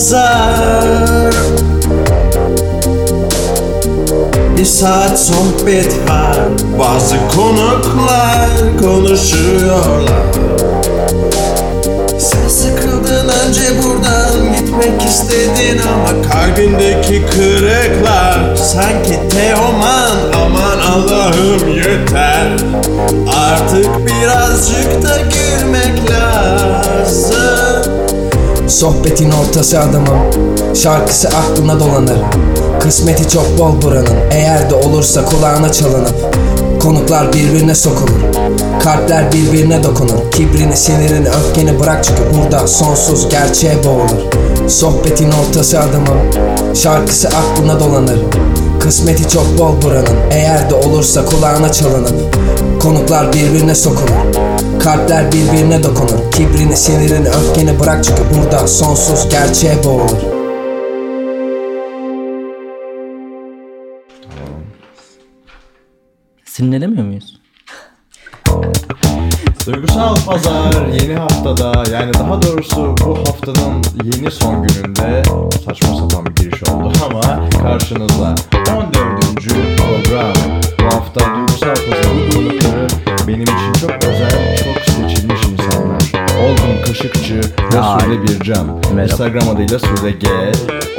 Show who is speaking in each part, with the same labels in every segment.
Speaker 1: nazar Bir saat sohbet var Bazı konuklar konuşuyorlar Sen sıkıldın önce buradan gitmek istedin ama Kalbindeki kırıklar sanki Teoman Aman Allah'ım yeter Artık birazcık da gülmek lazım
Speaker 2: Sohbetin ortası adamım Şarkısı aklına dolanır Kısmeti çok bol buranın Eğer de olursa kulağına çalınıp Konuklar birbirine sokulur Kalpler birbirine dokunur Kibrini, sinirini, öfkeni bırak çünkü burada sonsuz gerçeğe boğulur Sohbetin ortası adamım Şarkısı aklına dolanır Kısmeti çok bol buranın Eğer de olursa kulağına çalınıp Konuklar birbirine sokulur Kalpler birbirine dokunur Kibrini, sinirini, öfkeni bırak çünkü burada sonsuz gerçeğe boğulur
Speaker 3: Sinirlenemiyor muyuz?
Speaker 4: Duygusal Pazar yeni haftada yani daha doğrusu bu haftanın yeni son gününde saçma sapan bir giriş oldu ama karşınızda 14. program. Bu hafta Duygusal Pazar'ın konukları benim için çok özel, çok seçilmiş insanlar. Olgun Kaşıkçı ve
Speaker 3: Ay.
Speaker 4: Sude Bircan.
Speaker 3: Merhaba.
Speaker 4: Instagram adıyla Sude G.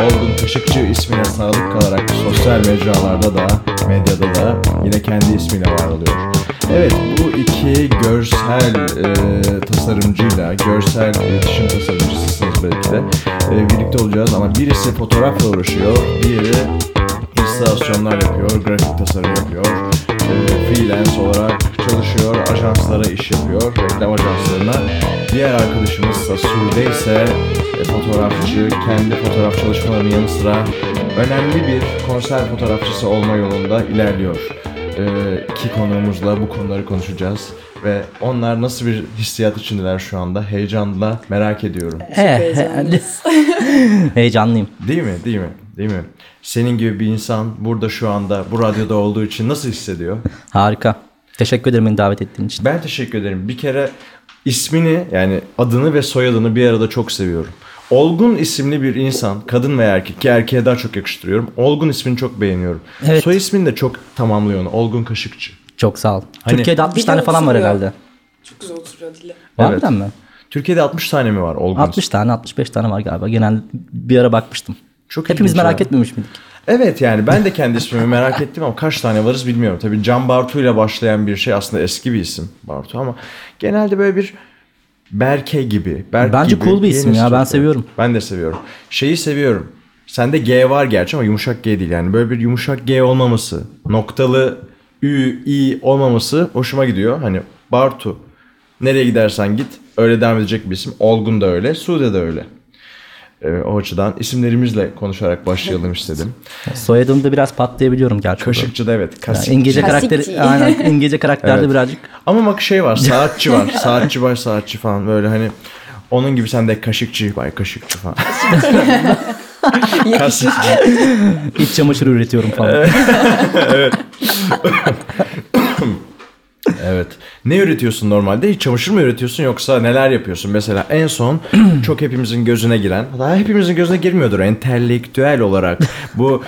Speaker 4: Olgun Kaşıkçı ismine sadık kalarak sosyal mecralarda da, medyada da yine kendi ismiyle var oluyor. Evet bu iki görsel e, tasarımcıyla, görsel iletişim tasarımcısısınız belki de e, birlikte olacağız ama birisi fotoğrafla uğraşıyor, diğeri instalasyonlar yapıyor, grafik tasarım yapıyor, e, freelance olarak çalışıyor, ajanslara iş yapıyor, reklam ajanslarına. Diğer arkadaşımız da Sude ise e, fotoğrafçı, kendi fotoğraf çalışmalarının yanı sıra önemli bir konser fotoğrafçısı olma yolunda ilerliyor. E, iki konuğumuzla bu konuları konuşacağız ve onlar nasıl bir hissiyat içindeler şu anda heyecanla merak ediyorum.
Speaker 3: heyecanlıyız. Eh, Heyecanlıyım.
Speaker 4: Değil mi? Değil mi? Değil mi? Senin gibi bir insan burada şu anda bu radyoda olduğu için nasıl hissediyor?
Speaker 3: Harika. Teşekkür ederim beni davet ettiğin için.
Speaker 4: Ben teşekkür ederim. Bir kere ismini yani adını ve soyadını bir arada çok seviyorum. Olgun isimli bir insan, kadın veya erkek ki erkeğe daha çok yakıştırıyorum. Olgun ismini çok beğeniyorum.
Speaker 3: Evet.
Speaker 4: Soy ismini de çok tamamlıyor onu. Olgun Kaşıkçı.
Speaker 3: Çok sağ ol.
Speaker 4: Hani-
Speaker 3: Türkiye'de 60 tane
Speaker 5: Biliyor
Speaker 3: falan var
Speaker 5: musun ya?
Speaker 3: herhalde.
Speaker 5: Çok güzel oturuyor dili.
Speaker 4: Evet.
Speaker 3: Harbiden mi?
Speaker 4: Türkiye'de 60 tane mi var Olgun?
Speaker 3: 60 tane 65 tane var galiba. Genel bir ara bakmıştım.
Speaker 4: Çok
Speaker 3: Hepimiz
Speaker 4: ilginç
Speaker 3: merak
Speaker 4: ya.
Speaker 3: etmemiş miydik?
Speaker 4: Evet yani ben de kendi ismimi merak ettim ama kaç tane varız bilmiyorum. Tabii Can Bartu ile başlayan bir şey aslında eski bir isim Bartu ama genelde böyle bir Berke gibi. Berk
Speaker 3: Bence
Speaker 4: gibi
Speaker 3: cool bir isim
Speaker 4: yenisi
Speaker 3: ya, ben
Speaker 4: çok-
Speaker 3: seviyorum.
Speaker 4: Ben de seviyorum. Şeyi seviyorum. Sende G var gerçi ama yumuşak G değil yani. Böyle bir yumuşak G olmaması, noktalı Ü, İ olmaması hoşuma gidiyor. Hani Bartu nereye gidersen git öyle devam edecek bir isim. Olgun da öyle, Sude de öyle. Ee, o açıdan isimlerimizle konuşarak başlayalım istedim.
Speaker 3: Soyadımda biraz patlayabiliyorum gerçi.
Speaker 4: Kaşıkçı da evet.
Speaker 3: Yani
Speaker 4: Kasık.
Speaker 3: İngilizce
Speaker 5: Kasikçi.
Speaker 3: karakteri, aynen İngilizce karakterde
Speaker 4: Evet.
Speaker 3: birazcık.
Speaker 4: Ama bak şey var. Saatçi var. Saatçi var. Saatçi falan. Böyle hani onun gibi sen de kaşıkçı bay kaşıkçı falan. Kaşıkçı.
Speaker 3: İç çamaşırı üretiyorum falan.
Speaker 4: evet. Ne üretiyorsun normalde? Hiç çamaşır mı üretiyorsun yoksa neler yapıyorsun? Mesela en son çok hepimizin gözüne giren, hatta hepimizin gözüne girmiyordur entelektüel olarak bu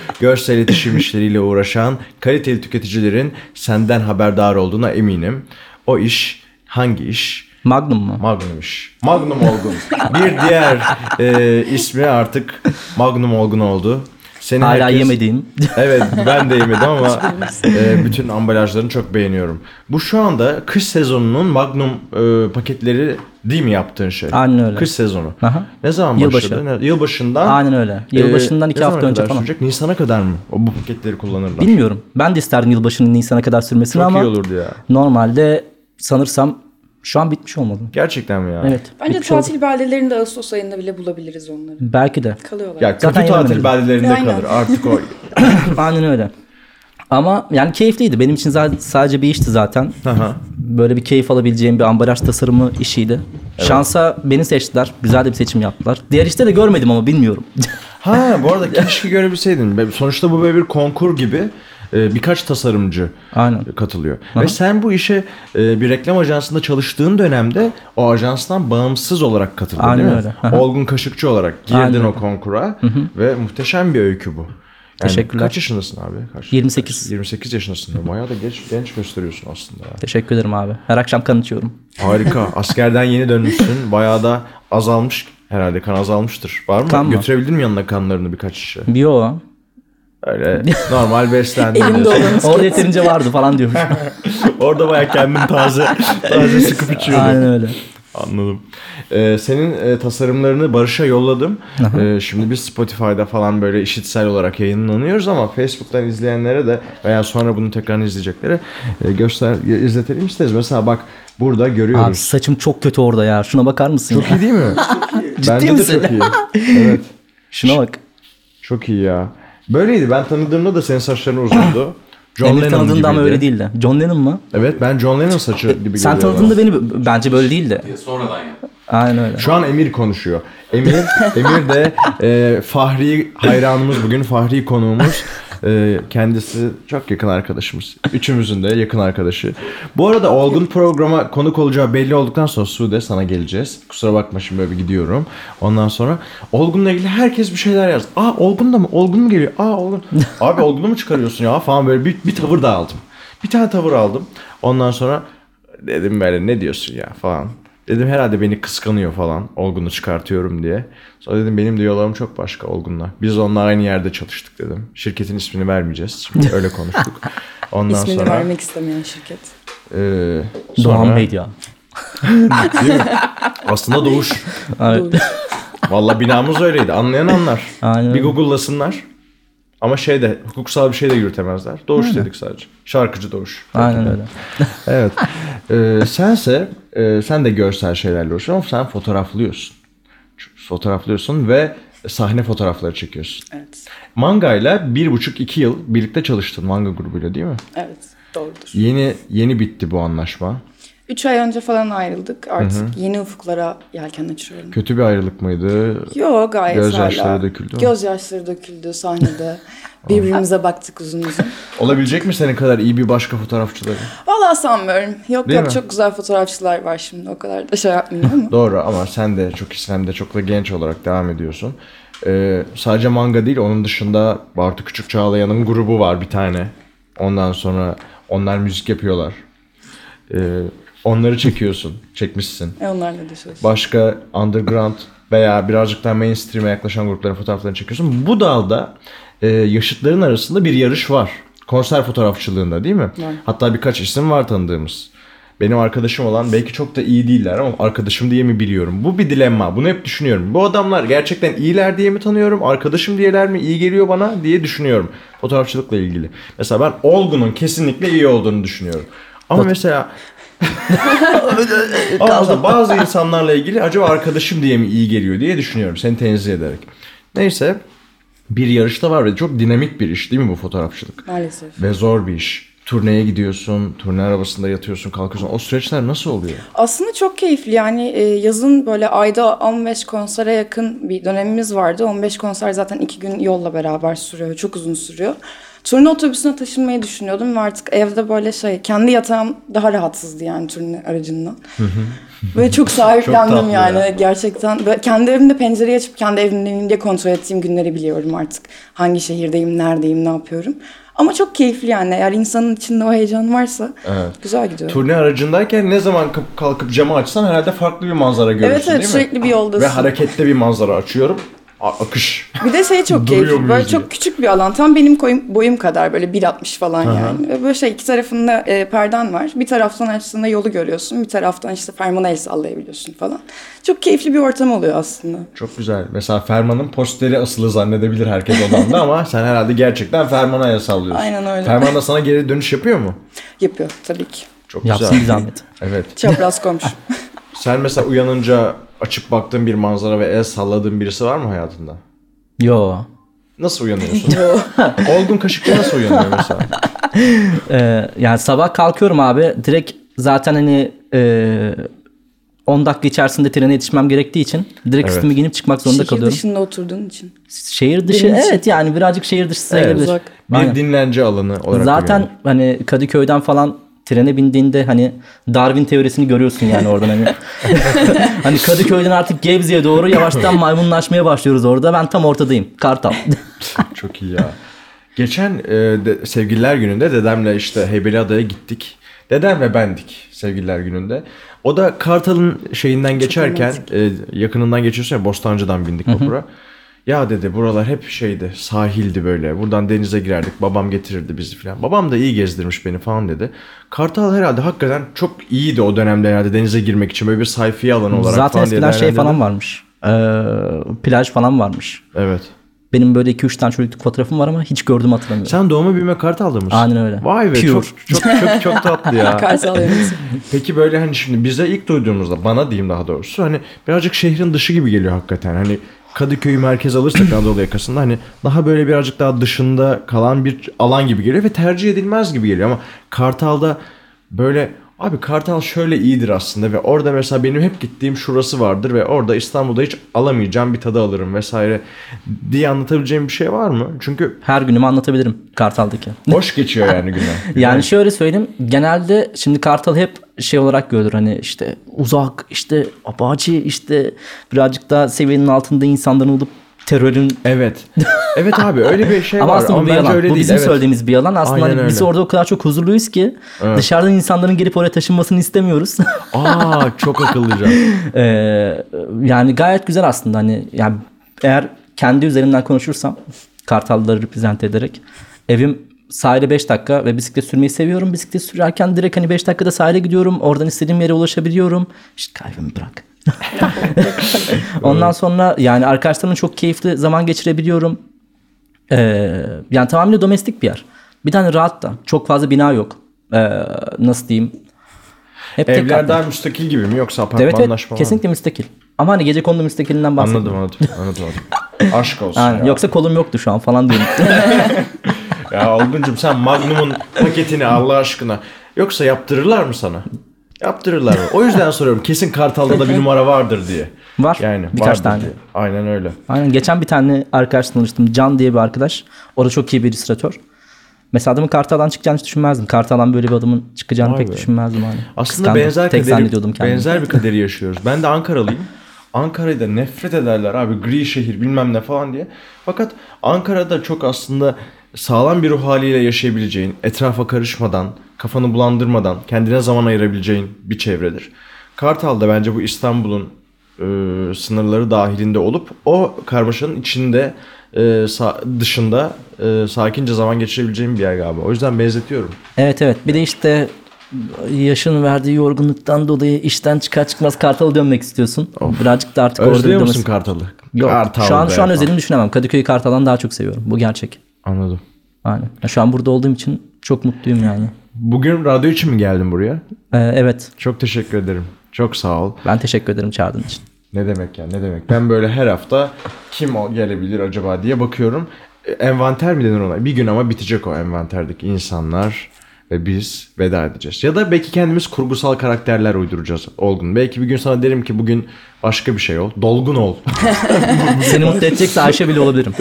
Speaker 4: görsel iletişim işleriyle uğraşan kaliteli tüketicilerin senden haberdar olduğuna eminim. O iş hangi iş?
Speaker 3: Magnum mu?
Speaker 4: Magnum iş. Magnum Olgun. bir diğer e, ismi artık Magnum Olgun oldu. Senin
Speaker 3: Hala
Speaker 4: herkes-
Speaker 3: yemediğim.
Speaker 4: Evet ben de yemedim ama e, bütün ambalajlarını çok beğeniyorum. Bu şu anda kış sezonunun Magnum e, paketleri değil mi yaptığın şey?
Speaker 3: Aynen öyle.
Speaker 4: Kış sezonu.
Speaker 3: Aha.
Speaker 4: Ne zaman
Speaker 3: Yılbaşı.
Speaker 4: başladı? Ne- Yılbaşından. E,
Speaker 3: Aynen öyle. Yılbaşından iki
Speaker 4: ne
Speaker 3: hafta
Speaker 4: zamana
Speaker 3: önce
Speaker 4: kadar
Speaker 3: falan.
Speaker 4: Sürecek? Nisan'a kadar mı? O, bu paketleri kullanırlar.
Speaker 3: Bilmiyorum. Ben de isterdim yılbaşının Nisan'a kadar sürmesini
Speaker 4: Çok
Speaker 3: ama
Speaker 4: iyi olurdu ya.
Speaker 3: normalde sanırsam şu an bitmiş olmadı.
Speaker 4: Gerçekten mi ya?
Speaker 3: Evet.
Speaker 5: Bence
Speaker 3: bitmiş oldu.
Speaker 5: tatil beldelerinde Ağustos ayında bile bulabiliriz onları.
Speaker 3: Belki de.
Speaker 5: Kalıyorlar.
Speaker 4: Ya kötü
Speaker 3: Zaten
Speaker 4: tatil
Speaker 3: yememedim.
Speaker 4: beldelerinde
Speaker 5: Aynen.
Speaker 4: kalır. Artık o
Speaker 3: Aynen öyle. Ama yani keyifliydi. Benim için zaten sadece bir işti zaten.
Speaker 4: Aha.
Speaker 3: Böyle bir keyif alabileceğim bir ambalaj tasarımı işiydi. Şansa beni seçtiler. Güzel de bir seçim yaptılar. Diğer işte de görmedim ama bilmiyorum.
Speaker 4: Ha bu arada keşke görebilseydin. Be- Sonuçta bu böyle bir konkur gibi. e, birkaç tasarımcı
Speaker 3: Aynen.
Speaker 4: katılıyor. Ve sen bu işe e, bir reklam ajansında çalıştığın dönemde o ajanstan bağımsız olarak katıldın
Speaker 3: Aynen
Speaker 4: değil mi?
Speaker 3: öyle. Aha.
Speaker 4: Olgun Kaşıkçı olarak girdin
Speaker 3: Aynen.
Speaker 4: o konkura ve muhteşem bir öykü bu. Yani
Speaker 3: Teşekkürler.
Speaker 4: Kaç yaşındasın abi? Kaç,
Speaker 3: 28.
Speaker 4: 28 yaşındasın. Bayağı da genç, genç gösteriyorsun aslında. ya.
Speaker 3: Teşekkür ederim abi. Her akşam kan içiyorum.
Speaker 4: Harika. Askerden yeni dönmüşsün. Bayağı da azalmış herhalde. Kan azalmıştır. Var mı?
Speaker 3: Kan mı?
Speaker 4: Götürebildin mi yanına kanlarını birkaç şişe?
Speaker 3: Yo.
Speaker 4: Öyle normal beslendin.
Speaker 5: Elimde
Speaker 4: diyorsun.
Speaker 5: olanı
Speaker 3: Orada yeterince vardı falan diyormuş.
Speaker 4: Orada bayağı kendin taze, taze sıkıp içiyordun.
Speaker 3: Aynen öyle.
Speaker 4: Anladım. Ee, senin e, tasarımlarını Barış'a yolladım. Ee, şimdi biz Spotify'da falan böyle işitsel olarak yayınlanıyoruz ama Facebook'tan izleyenlere de veya sonra bunu tekrar izleyeceklere e, göster izletelim isteriz. Mesela bak burada
Speaker 3: Abi
Speaker 4: görüyoruz.
Speaker 3: saçım çok kötü orada ya. Şuna bakar mısın?
Speaker 4: Çok iyi değil mi? Bence
Speaker 3: misin?
Speaker 4: de çok iyi. Evet.
Speaker 3: Şuna bak.
Speaker 4: Çok iyi ya. Böyleydi. Ben tanıdığımda da senin saçların uzundu. John
Speaker 3: Emir
Speaker 4: Lennon
Speaker 3: tanıdığında ama
Speaker 4: gibiydi.
Speaker 3: öyle değildi. John Lennon mı?
Speaker 4: Evet ben John Lennon saçı gibi
Speaker 3: Sen
Speaker 4: geliyor bana.
Speaker 3: tanıdığında beni bence böyle değildi.
Speaker 6: Sonradan ya.
Speaker 3: Aynen öyle.
Speaker 4: Şu an Emir konuşuyor. Emir, Emir de e, Fahri hayranımız bugün Fahri konuğumuz. E, kendisi çok yakın arkadaşımız. Üçümüzün de yakın arkadaşı. Bu arada Olgun programa konuk olacağı belli olduktan sonra Sude sana geleceğiz. Kusura bakma şimdi böyle bir gidiyorum. Ondan sonra Olgun'la ilgili herkes bir şeyler yaz. Aa Olgun da mı? Olgun mu geliyor? Aa Olgun. Abi Olgun'u mu çıkarıyorsun ya falan böyle bir, bir tavır da aldım. Bir tane tavır aldım. Ondan sonra Dedim böyle ne diyorsun ya falan. Dedim herhalde beni kıskanıyor falan. Olgun'u çıkartıyorum diye. Sonra dedim benim diyorlarım çok başka Olgun'la. Biz onunla aynı yerde çalıştık dedim. Şirketin ismini vermeyeceğiz. Şimdi öyle konuştuk. Ondan
Speaker 5: İsmini
Speaker 4: sonra...
Speaker 5: vermek istemeyen şirket.
Speaker 4: eee, sonra-
Speaker 3: Doğan Bey ya.
Speaker 4: Değil mi? Aslında doğuş.
Speaker 3: Evet.
Speaker 4: Valla binamız öyleydi. Anlayan anlar.
Speaker 3: Aynen.
Speaker 4: Bir google'lasınlar. Ama şey de hukuksal bir şey de yürütemezler. Doğuş dedik sadece. Şarkıcı doğuş.
Speaker 3: Aynen öyle.
Speaker 4: Evet. Ee, sense e, sen de görsel şeylerle uğraşıyorsun ama sen fotoğraflıyorsun. Ç- Fotoğraflıyorsun ve sahne fotoğrafları çekiyorsun.
Speaker 5: Evet.
Speaker 4: Manga'yla bir buçuk iki yıl birlikte çalıştın Manga grubuyla değil mi?
Speaker 5: Evet. Doğrudur.
Speaker 4: Yeni yeni bitti bu anlaşma.
Speaker 5: Üç ay önce falan ayrıldık. Artık yeni ufuklara yelken açıyorum.
Speaker 4: Kötü bir ayrılık mıydı?
Speaker 5: Yo gayet
Speaker 4: Gözyaşları
Speaker 5: hala.
Speaker 4: döküldü mü?
Speaker 5: Gözyaşları döküldü sahnede. Birbirimize baktık uzun uzun.
Speaker 4: Olabilecek mi senin kadar iyi bir başka fotoğrafçıları?
Speaker 5: Vallahi sanmıyorum. Yok
Speaker 4: Değil
Speaker 5: yok
Speaker 4: mi?
Speaker 5: çok güzel fotoğrafçılar var şimdi. O kadar da şey yapmayayım ama.
Speaker 4: Doğru ama sen de çok iyisin hem de çok da genç olarak devam ediyorsun. Ee, sadece manga değil onun dışında Bartu Küçük Çağlayan'ın grubu var bir tane. Ondan sonra onlar müzik yapıyorlar. Ee, onları çekiyorsun, çekmişsin.
Speaker 5: E onlarla da çalışıyorum.
Speaker 4: Başka underground veya birazcık daha mainstream'e yaklaşan grupların fotoğraflarını çekiyorsun. Bu dalda e, yaşıtların arasında bir yarış var. Konser fotoğrafçılığında değil mi? Hatta birkaç isim var tanıdığımız. Benim arkadaşım olan belki çok da iyi değiller ama arkadaşım diye mi biliyorum? Bu bir dilemma. Bunu hep düşünüyorum. Bu adamlar gerçekten iyiler diye mi tanıyorum? Arkadaşım diyeler mi? iyi geliyor bana diye düşünüyorum. Fotoğrafçılıkla ilgili. Mesela ben Olgun'un kesinlikle iyi olduğunu düşünüyorum. Ama mesela bazı, bazı insanlarla ilgili acaba arkadaşım diye mi iyi geliyor diye düşünüyorum seni tenzih ederek. Neyse bir yarışta var ve çok dinamik bir iş değil mi bu fotoğrafçılık?
Speaker 5: Maalesef.
Speaker 4: Ve zor bir iş. Turneye gidiyorsun, turne arabasında yatıyorsun, kalkıyorsun. O süreçler nasıl oluyor?
Speaker 5: Aslında çok keyifli yani e, yazın böyle ayda 15 konsere yakın bir dönemimiz vardı. 15 konser zaten iki gün yolla beraber sürüyor. Çok uzun sürüyor. Turne otobüsüne taşınmayı düşünüyordum ve artık evde böyle şey kendi yatağım daha rahatsızdı yani turne aracından. Böyle çok sahiplendim
Speaker 4: Çok tatlı
Speaker 5: yani
Speaker 4: ya.
Speaker 5: gerçekten. Böyle kendi evimde pencereyi açıp kendi evimdeyim diye kontrol ettiğim günleri biliyorum artık. Hangi şehirdeyim, neredeyim, ne yapıyorum. Ama çok keyifli yani. Eğer insanın içinde o heyecan varsa
Speaker 4: Evet.
Speaker 5: güzel gidiyor.
Speaker 4: Turne aracındayken ne zaman kap- kalkıp camı açsan herhalde farklı bir manzara görürsün
Speaker 5: evet evet
Speaker 4: değil mi?
Speaker 5: sürekli bir yoldasın.
Speaker 4: Ve hareketli bir manzara açıyorum. A- akış.
Speaker 5: Bir de şey
Speaker 4: Duruyor
Speaker 5: çok keyifli.
Speaker 4: muyuz
Speaker 5: Böyle
Speaker 4: diye.
Speaker 5: çok küçük bir alan. Tam benim koyum, boyum kadar böyle 1.60 falan yani. Ve böyle şey iki tarafında e, perden var. Bir taraftan açtığında yolu görüyorsun. Bir taraftan işte fermana el sallayabiliyorsun falan. Çok keyifli bir ortam oluyor aslında.
Speaker 4: Çok güzel. Mesela Ferman'ın posteri asılı zannedebilir herkes odanda ama sen herhalde gerçekten Ferman'a el sallıyorsun.
Speaker 5: Aynen öyle.
Speaker 4: Ferman da sana geri dönüş yapıyor mu?
Speaker 5: Yapıyor tabii ki.
Speaker 4: Çok
Speaker 3: Yapsın bir zahmet.
Speaker 4: Evet.
Speaker 5: Çapraz komşu.
Speaker 4: Sen mesela uyanınca açıp baktığın bir manzara ve el salladığın birisi var mı hayatında?
Speaker 3: Yo.
Speaker 4: Nasıl uyanıyorsun? Olgun kaşıkla nasıl uyanıyor mesela?
Speaker 3: Ee, yani sabah kalkıyorum abi direkt zaten hani e, 10 dakika içerisinde trene yetişmem gerektiği için direkt
Speaker 4: Evet.
Speaker 3: üstümü giyinip çıkmak zorunda
Speaker 5: Şehir
Speaker 3: kalıyorum.
Speaker 5: dışında oturduğun için.
Speaker 3: Şehir dışı
Speaker 5: Benim için.
Speaker 3: evet yani birazcık şehir dışı sayılabilir.
Speaker 5: uzak.
Speaker 4: Bir
Speaker 3: Aynen.
Speaker 4: dinlence alanı olarak.
Speaker 3: Zaten
Speaker 4: görüyorum.
Speaker 3: hani Kadıköy'den falan trene bindiğinde hani Darwin teorisini görüyorsun yani oradan hani. hani Kadıköy'den artık Gebze'ye doğru yavaştan maymunlaşmaya başlıyoruz orada. Ben tam ortadayım. Kartal.
Speaker 4: Çok iyi ya. Geçen e, de- sevgililer gününde dedemle işte Heybeliada'ya gittik. Dedem ve bendik sevgililer gününde. O da Kartal'ın şeyinden geçerken e, yakınından geçiyorsun ya Bostancı'dan bindik vapura. Ya dedi buralar hep şeydi sahildi böyle buradan denize girerdik babam getirirdi bizi falan. Babam da iyi gezdirmiş beni falan dedi. Kartal herhalde hakikaten çok iyiydi o dönemde herhalde denize girmek için böyle bir sayfiye alanı olarak
Speaker 3: Zaten
Speaker 4: falan diye
Speaker 3: eskiden şey
Speaker 4: değerlendirdim.
Speaker 3: falan varmış. Ee, plaj falan varmış.
Speaker 4: Evet.
Speaker 3: Benim böyle 2-3 tane çocukluk fotoğrafım var ama hiç gördüm hatırlamıyorum.
Speaker 4: Sen doğuma büyüme Kartal'da mısın?
Speaker 3: Aynen öyle.
Speaker 4: Vay be
Speaker 3: Pure.
Speaker 4: çok, çok çok çok tatlı ya.
Speaker 5: Kartal yemesi.
Speaker 4: Peki böyle hani şimdi bize ilk duyduğumuzda bana diyeyim daha doğrusu hani birazcık şehrin dışı gibi geliyor hakikaten. Hani Kadıköy'ü merkez alırsak Anadolu yakasında hani daha böyle birazcık daha dışında kalan bir alan gibi geliyor ve tercih edilmez gibi geliyor ama Kartal'da böyle abi Kartal şöyle iyidir aslında ve orada mesela benim hep gittiğim şurası vardır ve orada İstanbul'da hiç alamayacağım bir tadı alırım vesaire diye anlatabileceğim bir şey var mı? Çünkü
Speaker 3: Her günümü anlatabilirim Kartal'daki.
Speaker 4: boş geçiyor yani günler.
Speaker 3: Yani şöyle söyleyeyim. Genelde şimdi Kartal hep şey olarak görülür. Hani işte uzak, işte apaçi, işte birazcık daha seviyenin altında insanların olup terörün
Speaker 4: Evet. Evet abi öyle bir şey
Speaker 3: ama
Speaker 4: var
Speaker 3: aslında bu
Speaker 4: ama
Speaker 3: bir
Speaker 4: bence
Speaker 3: yalan.
Speaker 4: öyle
Speaker 3: Bu
Speaker 4: değil.
Speaker 3: bizim
Speaker 4: evet.
Speaker 3: söylediğimiz bir yalan. Aslında
Speaker 4: Aynen
Speaker 3: hani biz
Speaker 4: öyle.
Speaker 3: orada o kadar çok huzurluyuz ki dışarıdan insanların gelip oraya taşınmasını istemiyoruz.
Speaker 4: Aa çok akıllıca.
Speaker 3: Ee, yani gayet güzel aslında hani yani eğer kendi üzerimden konuşursam Kartalları reprezent ederek evim sahile 5 dakika ve bisiklet sürmeyi seviyorum. Bisiklet sürerken direkt hani 5 dakikada sahile gidiyorum. Oradan istediğim yere ulaşabiliyorum. İşte kalbimi bırak. Ondan sonra yani arkadaşlarımla çok keyifli zaman geçirebiliyorum. Ee, yani tamamıyla domestik bir yer. Bir tane rahat da. Çok fazla bina yok. Ee, nasıl diyeyim? Hep tek
Speaker 4: Evler
Speaker 3: katlı.
Speaker 4: daha müstakil gibi mi yoksa
Speaker 3: Evet,
Speaker 4: apartmanlaşma
Speaker 3: evet
Speaker 4: var mı?
Speaker 3: kesinlikle müstakil. Ama hani gece kondu müstakilinden bahsediyorum.
Speaker 4: Anladım anladım anladım. anladım. Aşk olsun
Speaker 3: Aynen.
Speaker 4: ya.
Speaker 3: Yoksa kolum yoktu şu an falan diyorum.
Speaker 4: Ya Olguncum sen Magnum'un paketini Allah aşkına. Yoksa yaptırırlar mı sana? Yaptırırlar mı? O yüzden soruyorum kesin Kartal'da da bir numara vardır diye.
Speaker 3: Var, birkaç
Speaker 4: vardır
Speaker 3: tane.
Speaker 4: diye. Aynen öyle.
Speaker 3: Aynen. Geçen bir tane arkadaşla tanıştım. Can diye bir arkadaş. O da çok iyi bir illüstratör. Mesela adamın Kartal'dan çıkacağını hiç düşünmezdim. Kartal'dan böyle bir adamın çıkacağını
Speaker 4: Vay
Speaker 3: pek
Speaker 4: be.
Speaker 3: düşünmezdim. Hani.
Speaker 4: Aslında
Speaker 3: Kıskandım.
Speaker 4: benzer
Speaker 3: Tek zannediyordum
Speaker 4: kaderi,
Speaker 3: kendimi.
Speaker 4: benzer bir kaderi yaşıyoruz. Ben de Ankaralıyım. Ankara'yı da nefret ederler abi gri şehir bilmem ne falan diye. Fakat Ankara'da çok aslında sağlam bir ruh haliyle yaşayabileceğin, etrafa karışmadan, kafanı bulandırmadan kendine zaman ayırabileceğin bir çevredir. Kartal da bence bu İstanbul'un e, sınırları dahilinde olup o karmaşanın içinde e, sa- dışında e, sakince zaman geçirebileceğim bir yer galiba. O yüzden benzetiyorum.
Speaker 3: Evet evet. Bir de işte yaşın verdiği yorgunluktan dolayı işten çıkar çıkmaz Kartal'a dönmek istiyorsun. Birazcık da artık orada
Speaker 4: Özlüyor
Speaker 3: bir
Speaker 4: musun
Speaker 3: domestik-
Speaker 4: Kartal'ı?
Speaker 3: Yok.
Speaker 4: Kartal
Speaker 3: şu an
Speaker 4: be
Speaker 3: şu an
Speaker 4: falan.
Speaker 3: özelini düşünemem. Kadıköy'ü Kartal'dan daha çok seviyorum. Bu gerçek.
Speaker 4: Anladım.
Speaker 3: Aynen. Ya Şu an burada olduğum için çok mutluyum yani.
Speaker 4: Bugün radyo için mi geldin buraya?
Speaker 3: Ee, evet.
Speaker 4: Çok teşekkür ederim. Çok sağ ol.
Speaker 3: Ben teşekkür ederim çağırdığın için.
Speaker 4: Ne demek ya ne demek. Ben böyle her hafta kim o gelebilir acaba diye bakıyorum. E, Envanter mi denir ona? Bir gün ama bitecek o envanterdeki insanlar ve biz veda edeceğiz. Ya da belki kendimiz kurgusal karakterler uyduracağız Olgun. Belki bir gün sana derim ki bugün başka bir şey ol. Dolgun ol.
Speaker 3: Seni mutlu edecekse Ayşe bile olabilirim.